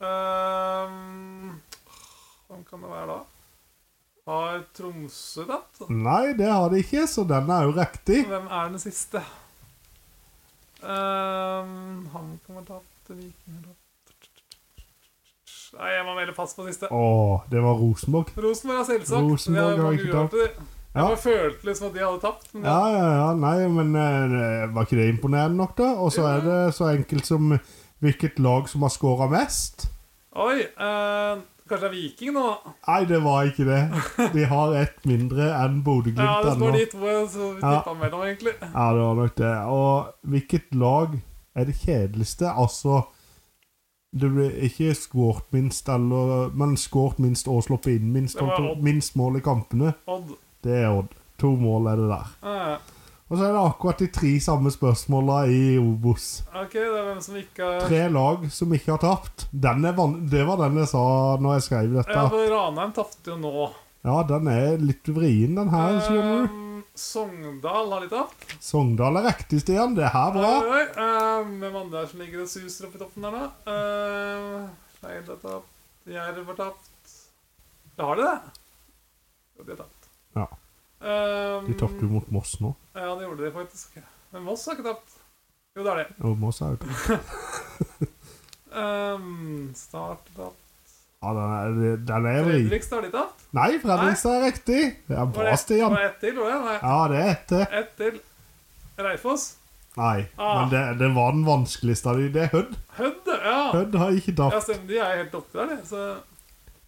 S2: ehm, Hvem kan det være da? Har Tromsø tatt?
S1: Nei, det har de ikke, så den er jo riktig.
S2: Hvem er den siste? Ehm, han kan være tapt Viking er tapt. Nei, jeg må melde pass på siste.
S1: Å, det var Rosenborg.
S2: Rosenborg er selvsagt.
S1: Rosenborg
S2: Det er
S1: har
S2: mange
S1: ikke
S2: uhørte, de. Jeg
S1: Ja.
S2: bare følte liksom at de hadde tapt. Men
S1: Ja, ja, ja, nei, men eh, var ikke det imponerende nok, da? Og så er det så enkelt som hvilket lag som har skåra mest.
S2: Oi! eh, Kanskje det er Viking nå? da?
S1: Nei, det var ikke det. De har ett mindre enn
S2: Ja,
S1: Bodø-Glimt
S2: det
S1: ennå.
S2: står de to så vi
S1: Ja.
S2: tippa mellom, egentlig.
S1: Ja, det var nok det. Og hvilket lag er det kjedeligste? Altså Det blir ikke skåret minst, eller Men skåret minst og sluppet inn minst.
S2: Det var
S1: holdt på-
S2: Odd.
S1: Minst mål i kampene.
S2: Odd.
S1: Det er Odd. To mål er det der.
S2: Ja, ja.
S1: Og så er det akkurat de tre samme spørsmåla i Obos.
S2: ok, det er hvem som ikke har
S1: Tre lag som ikke har tapt. Den er van det var den jeg sa når jeg skrev
S2: Ja,
S1: dette.
S2: for Ranheim tapte jo nå.
S1: Ja, den er litt vrien, den her, skjønner du.
S2: Ehm, Sogndal har de tapt.
S1: Sogndal er riktig, Stian. Det er her bra.
S2: Oi, oi, oi. Ehm, Hvem andre er det som ligger og suser opp i toppen der nå? Ehm, Skeid har tapt. Jerv har tapt. Ja, har de det? Jo, de har tapt.
S1: Ja.
S2: Ehm,
S1: De tapte jo mot Moss nå.
S2: Ja, det gjorde de faktisk. Men Moss har ikke tapt. Jo, det er det.
S1: Og Moss er jo
S2: Um, start tapt.
S1: Ja, den er, den er vri.
S2: Fredrikstad har de tapt.
S1: Nei, Fredrikstad er riktig. Det er
S2: Var
S1: bra,
S2: det-
S1: Stian.
S2: Var det ett til? Var det? Nei,
S1: Ja, det er ett til.
S2: ett til. Reifoss.
S1: Nei,
S2: Ah.
S1: men det, det var den vanskeligste av de. Det er Hødd.
S2: Hødd, ja.
S1: Hødd har ikke
S2: Ja,
S1: tapt.
S2: stemmer. De er helt oppi der, de. Så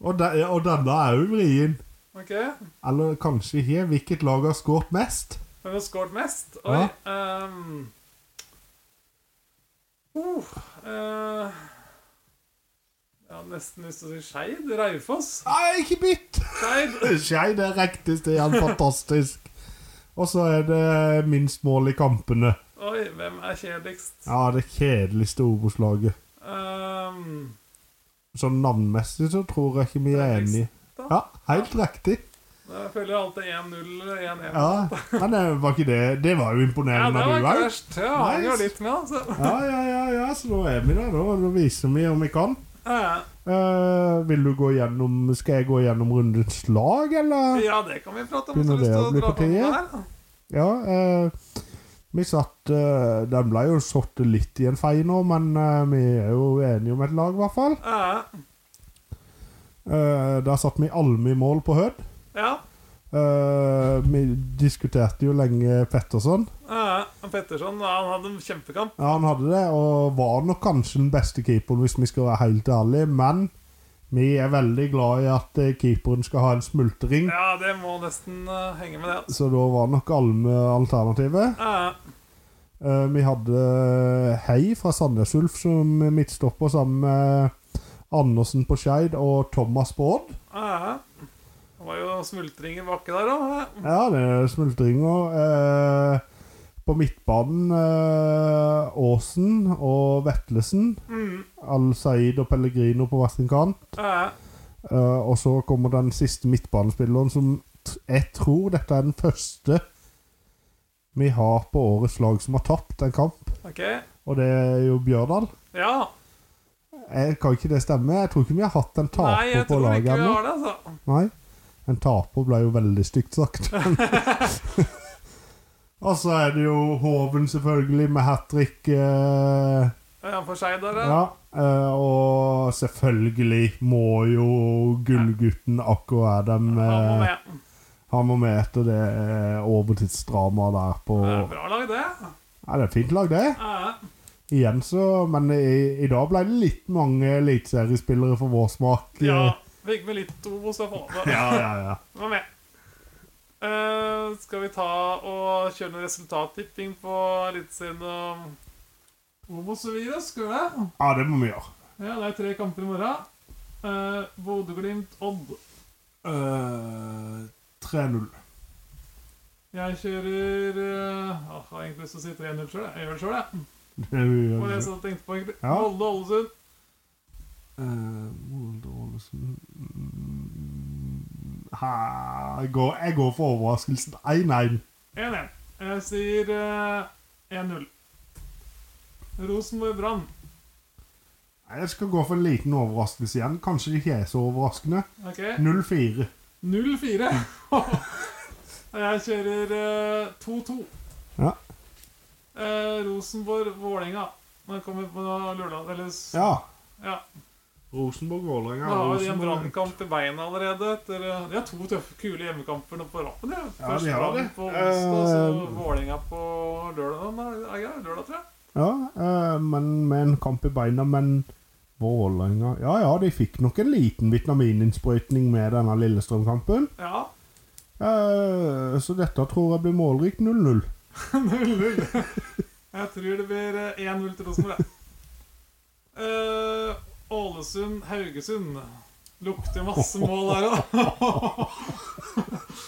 S1: Og, de, og denne er jo vrien.
S2: OK. Hvem
S1: Eller kanskje ikke. Hvilket lag har skåret mest?
S2: har skåret mest? Oi. Um, uh, eh, ja, nesten lyst til å si Skeid. Raufoss.
S1: Nei, ikke mitt!
S2: Skeid.
S1: Skeid er riktig, Stian. Fantastisk. Og så er det minst mål i kampene.
S2: Oi, hvem er kjedeligst?
S1: Ja, det kjedeligste Obos-laget.
S2: Um,
S1: Sånn navnmessig så tror jeg ikke vi er enige. Ja, helt riktig.
S2: jeg føler alltid 1-0 eller 1-1.
S1: Ja, Men det var ikke det. Det var jo
S2: Ja,
S1: imponerende
S2: det
S1: av
S2: var
S1: du òg.
S2: krasj. Ja, jeg har
S1: Nice.
S2: litt med, altså.
S1: Ja, ja, ja, ja, så nå er vi der, da. Nå viser vi om vi kan.
S2: Ja,
S1: Eh, vil du gå gjennom Skal jeg gå gjennom rundens lag, eller?
S2: Ja, det kan vi prate om.
S1: Begynner
S2: Hvis du
S1: det
S2: har
S1: å
S2: lyst
S1: bli
S2: til å dra på
S1: partiet?
S2: med det her.
S1: Ja. eh, vi satt eh, Den ble jo satt litt i en fei nå, men eh, vi er jo enige om et lag, i hvert fall.
S2: Ja,
S1: Eh, der satt vi Alme i mål på Hødd.
S2: ja.
S1: Eh, vi diskuterte jo lenge Petterson.
S2: ja. Petterson ja, han hadde en kjempekamp.
S1: Ja, han hadde det, og var nok kanskje den beste keeperen, hvis vi skal være helt ærlige. Men vi er veldig glad i at eh, keeperen skal ha en smultring,
S2: Ja, det må nesten eh, henge med det. altså.
S1: så da var nok Alme alternativet.
S2: Ja,
S1: Eh, vi hadde eh, Hei fra Sandnes Ulf som midtstopper sammen med Andersen på Skeid og Thomas på Odd.
S2: ja. Det var jo smultringer bakke der òg.
S1: Ja, det er smultringer. Eh, på midtbanen eh, Aasen og Vetlesen.
S2: Mm.
S1: Al-Said og Pellegrino på hver sin kant.
S2: Ja,
S1: Eh, og så kommer den siste midtbanespilleren som t jeg tror dette er den første vi har på årets lag som har tapt en kamp,
S2: OK.
S1: og det er jo Bjørdal.
S2: Ja.
S1: Jeg kan ikke det stemme? Jeg tror ikke vi har hatt en taper
S2: Nei, jeg
S1: på
S2: tror
S1: laget
S2: ikke vi
S1: ennå.
S2: har det, altså.
S1: Nei. En taper ble jo veldig stygt sagt. og så er det jo Hoven, selvfølgelig, med hat trick. eh,
S2: Ja, for seg der, ja.
S1: ja. eh, og selvfølgelig må jo gullgutten Akko Adam
S2: Han må
S1: eh,
S2: med.
S1: Han må med etter det eh, overtidsdramaet der på
S2: Det er bra lag, det.
S1: Ja, det er et fint lag, det.
S2: Ja.
S1: Igjen så Men i, i dag ble det litt mange eliteseriespillere for vår smak.
S2: ja. Fikk med litt Obos, i hvert fall.
S1: ja, ja. ja.
S2: Hva med? Eh, skal vi ta og kjøre noe resultattipping på Eliteserien og Obos og Virus? Skal vi det?
S1: Ja, det må vi gjøre.
S2: Ja, det er tre kamper i morgen. Uh, Bodø-Glimt, Odd.
S1: Eh, 3-0.
S2: Jeg kjører eh, åh, Jeg har egentlig lyst til å si 3-0 sjøl. Jeg gjør det sjøl, jeg.
S1: Det er jo-
S2: Det var det jeg satt og tenkte på, egentlig.
S1: Ja.
S2: Molde Ålesund.
S1: Eh, Molde, Ålesund Mm, her- jeg går- Jeg går for overraskelsen 1-1.
S2: 1-1. Jeg sier eh, 1-0. Rosenborg Brann.
S1: Nei, Jeg skal gå for en liten overraskelse igjen. Kanskje det ikke er så overraskende.
S2: OK.
S1: 0-4.
S2: 0-4. jeg kjører eh, 2-2.
S1: Ja.
S2: Eh, Rosenborg-Vålerenga. Når jeg kommer på lørdag eller s-
S1: Ja.
S2: Ja.
S1: Rosenborg-Vålerenga.
S2: Nå har de en
S1: Rosenborg-
S2: brannkamp i beina allerede. Etter, eh, de har to tøffe, kule hjemmekamper nå på rappen. Ja.
S1: Ja,
S2: Først
S1: de har
S2: Brann
S1: det.
S2: på onsdag, så
S1: Eh,
S2: Vålerenga på lørdag. Nei, er det lørdag, tror jeg.
S1: Ja, eh, men med en kamp i beina, men Vålerenga Ja ja, de fikk nok en liten vitamininnsprøytning med denne Lillestrøm-kampen.
S2: Ja.
S1: Eh, så dette tror jeg blir målrikt 0-0.
S2: 0-0. Jeg tror det blir eh, 1-0 til Rosenborg. jeg. Eh, Ålesund-Haugesund. Lukter masse mål der òg.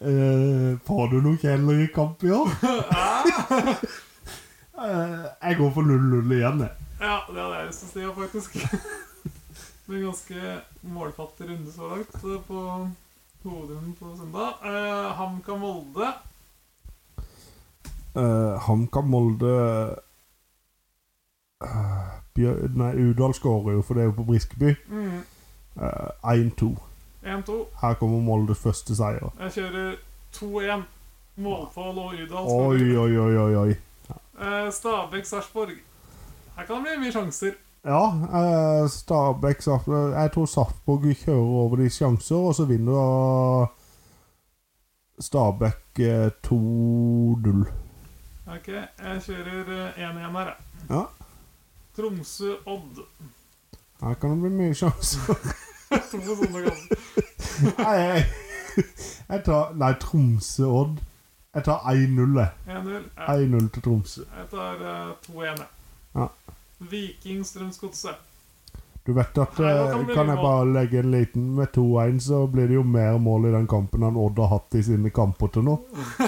S1: Eh, får du noe Kjeller i kamp i år? Eh, jeg går for 0-0 igjen, jeg.
S2: ja, det hadde jeg lyst til å si ja, faktisk. Det blir en ganske målfattig runde så langt eh, på hovedrunden på søndag. Eh, HamKam-Molde.
S1: Eh, HamKam Molde eh, Bjør- Nei, Udal skårer jo, for det er jo på Briskeby.
S2: Mm,
S1: Eh, 1-2.
S2: 1-2.
S1: Her kommer Moldes første seier.
S2: Jeg kjører 2-1. Målfall og Udal.
S1: Oi, oi, oi, oi. oi.
S2: Eh, Stabæk-Sarpsborg. Her kan det bli mye sjanser.
S1: Ja, eh, Stabæk Sarpsborg- Jeg tror Sarpsborg kjører over de sjanser, og så vinner da Stabæk eh, 2-0.
S2: Ok, jeg kjører eh, 1-1 her, jeg.
S1: Ja.
S2: Tromsø-Odd.
S1: Her kan det bli mye sjanser.
S2: To altså. sånne kamper.
S1: Nei, jeg, jeg tar Nei, Tromsø-Odd. Jeg tar 1-0, jeg.
S2: 1-0. Ja,
S1: 1-0 til Tromsø.
S2: Jeg tar eh, 2-1, jeg.
S1: Ja.
S2: Viking-Strømsgodset.
S1: Du vet at
S2: Nei, nå
S1: eh,
S2: kan det bli
S1: Kan jeg
S2: mål.
S1: bare legge en liten Med 2-1 så blir det jo mer mål i den kampen enn Odd har hatt i sine kamper til nå.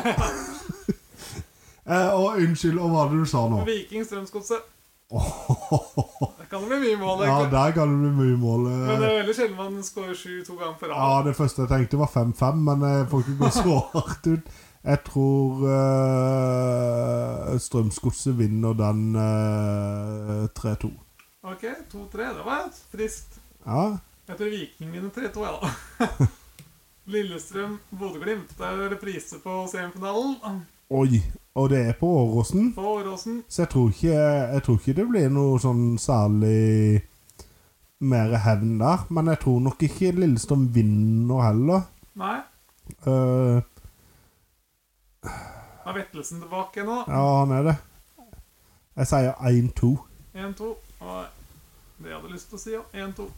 S1: eh, og unnskyld, og hva var det du sa nå?
S2: Viking-Strømsgodset. Der kan det bli mye mål,
S1: Ja,
S2: egentlig.
S1: der kan det bli mye mål. eh.
S2: Men det er veldig sjelden man scorer 7 to ganger på
S1: Ja,
S2: rad.
S1: det første jeg tenkte var 5-5, men eh, jeg får ikke gå så hardt ut. Jeg tror uh, Strømsgodset vinner den eh, 3-2.
S2: Ok, 2-3. Det var friskt.
S1: Ja,
S2: Jeg tror Viking vinner 3-2, jeg, da. Lillestrøm-Bodø-Glimt. Der er reprise på semifinalen.
S1: oi. Og det er på Åråsen.
S2: På Åråsen.
S1: Så jeg tror, ikke, jeg tror ikke det blir noe sånn særlig mer hevn der. Men jeg tror nok ikke Lillestrøm vinner heller.
S2: Nei.
S1: Eh,
S2: Er Vettelsen tilbake nå?
S1: ja, han er det. Jeg sier 1-2.
S2: 1-2. Og det jeg hadde lyst til å si, ja. 1-2.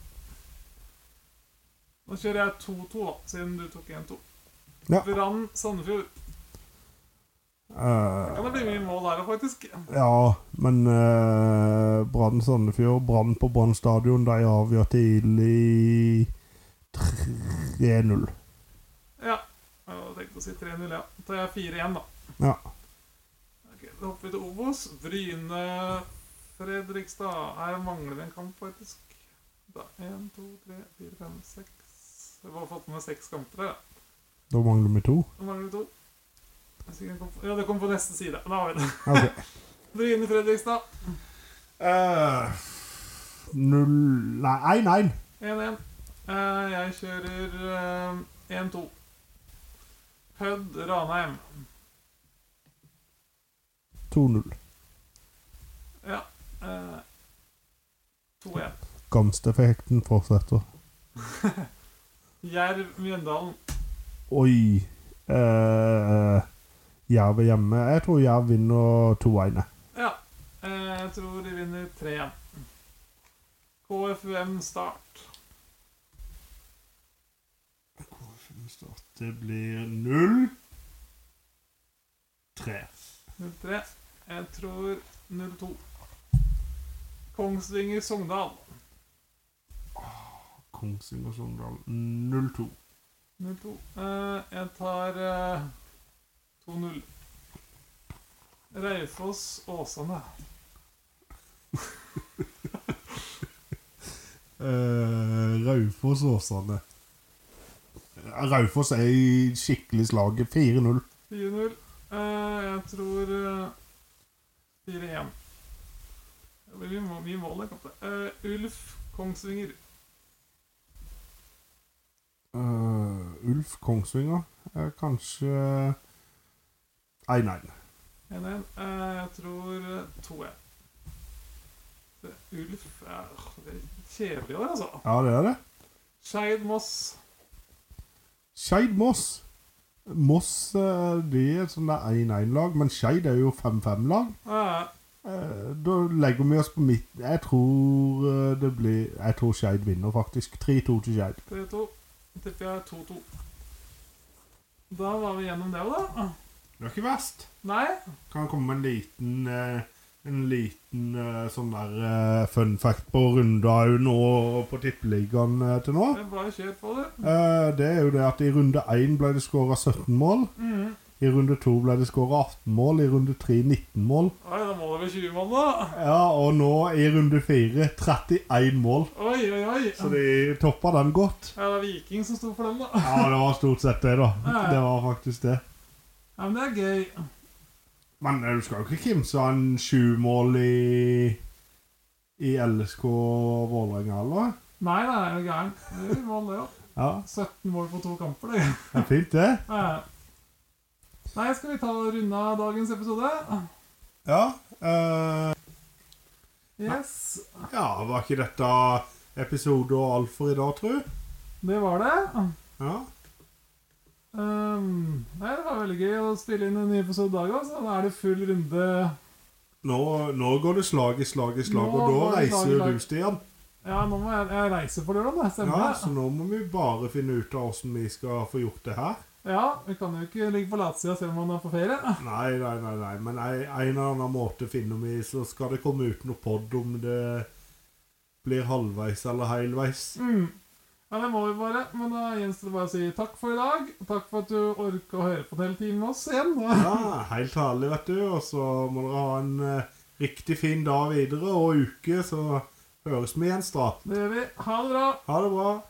S2: Nå kjører jeg 2-2, da, siden du tok 1-2.
S1: Ja.
S2: Brann Sandefjord.
S1: Eh,
S2: Kan det bli mye mål her, da, faktisk?
S1: Ja, men eh, Brann Sandefjord, Brann på Brann stadion, de avgjør tidlig 3-0.
S2: Ja. Jeg hadde tenkt å si 3-0, ja. Da tar jeg 4-1, da.
S1: Ja.
S2: Ok, Da hopper vi til Obos. Bryne Fredrikstad. Her mangler vi en kamp, faktisk. Da, 1, 2, 3, 4, 5, 6 Jeg har bare fått med seks kamper her, da.
S1: Da mangler vi to.
S2: Nå mangler vi to. Jeg er sikker den kom på- Ja, det kom på neste side. Da har vi det.
S1: Ok.
S2: Bryne Fredrikstad.
S1: Eh, Null Nei, 1-1.
S2: 1-1. Eh, Jeg kjører eh, 1-2. Hødd Ranheim.
S1: 2-0.
S2: Ja. eh, 2-1.
S1: Gamsteffekten fortsetter.
S2: Jerv Mjøndalen.
S1: Oi. Uh, Jerv er hjemme. Jeg tror Jerv vinner 2-1. jeg.
S2: Ja. eh, Jeg tror de vinner 3-1. KFUM Start.
S1: Det blir 0-3.
S2: 0-3. Jeg tror 0-2. Kongsvinger Sogndal.
S1: Kongsvinger Sogndal 0-2.
S2: 0-2. Eh, jeg tar eh, 2-0. Raufoss Åsane.
S1: Uh, Raufoss Åsane. Raufoss er i skikkelig slaget. 4-0.
S2: 4-0. Eh, jeg tror eh, 4-1. Det blir mye må- mye mål, det. kan det. Eh, Ulf Kongsvinger.
S1: Eh, Ulf Kongsvinger er kanskje 1-1.
S2: 1-1. Eh, jeg tror eh, 2-1. Det- Ulf er, det er kjedelig i år, altså.
S1: Ja, det er det.
S2: Skeid Moss.
S1: Skeid Moss. Moss eh, de er et sånn der 1-1-lag, men Skeid er jo 5-5-lag.
S2: Eh,
S1: Eh, Da legger vi oss på midt. Jeg tror eh, det blir Jeg tror Skeid vinner, faktisk. 3-2 til Skeid.
S2: 3-2. Tipper jeg 2-2. Da var vi gjennom det òg, da.
S1: Det er ikke verst.
S2: Nei?
S1: Kan komme med en liten eh, En liten eh, sånn der eh, fun fact på runda jo nå på tippeligaen eh, til nå.
S2: Men bare kjør på, du.
S1: Eh, Det er jo det at i runde 1 ble det skåra 17 mål.
S2: Mhm.
S1: I runde 2 ble det skåra 18 mål. I runde 3 19 mål.
S2: Oi, da må det bli 20 mål, da.
S1: Ja, og nå i runde 4 31 mål.
S2: Oi, oi, oi.
S1: Så de toppa den godt.
S2: Ja, det var Viking som sto for den, da.
S1: Ja, det var stort sett det, da. Det var faktisk det.
S2: Ja, Men det er gøy.
S1: Men eh, du skal jo ikke kimse av en sjumål i i LSK Vålerenga, eller?
S2: Nei, nei, er du gæren. Det er jo mål, det òg.
S1: Ja,
S2: 17 mål på to kamper, det.
S1: det er fint, det.
S2: Ja. Nei, skal vi ta og runde av dagens episode?
S1: Ja. eh,
S2: Yes,
S1: ja, var ikke dette episode og alt for i dag, tru?
S2: det var det.
S1: Ja.
S2: Ehm, nei, det var veldig gøy å spille inn en ny episode i dag òg, så da er det full runde.
S1: Nå, nå går det slag i slag i slag, og
S2: Nå
S1: da
S2: går det slag i
S1: reiser
S2: slag.
S1: du, Stian.
S2: Ja, nå må jeg, jeg reise på lørdag, det stemmer
S1: Ja,
S2: det?
S1: så nå må vi bare finne ut av åssen vi skal få gjort det her.
S2: Ja, vi kan jo ikke ligge på latsida selv om man er på ferie.
S1: Nei, nei, nei, nei. men en en eller annen måte finner vi, så skal det komme ut noe pod om det blir halvveis eller heilveis.
S2: Mm. Ja, det må vi bare. Men da gjenstår det bare å si takk for i dag. Takk for at du orka å høre på en hel time med oss igjen.
S1: Ja, helt herlig, vet du. Og så må dere ha en eh, riktig fin dag videre og uke, så høres vi igjen snart.
S2: Det gjør vi. Ha det bra.
S1: Ha det bra.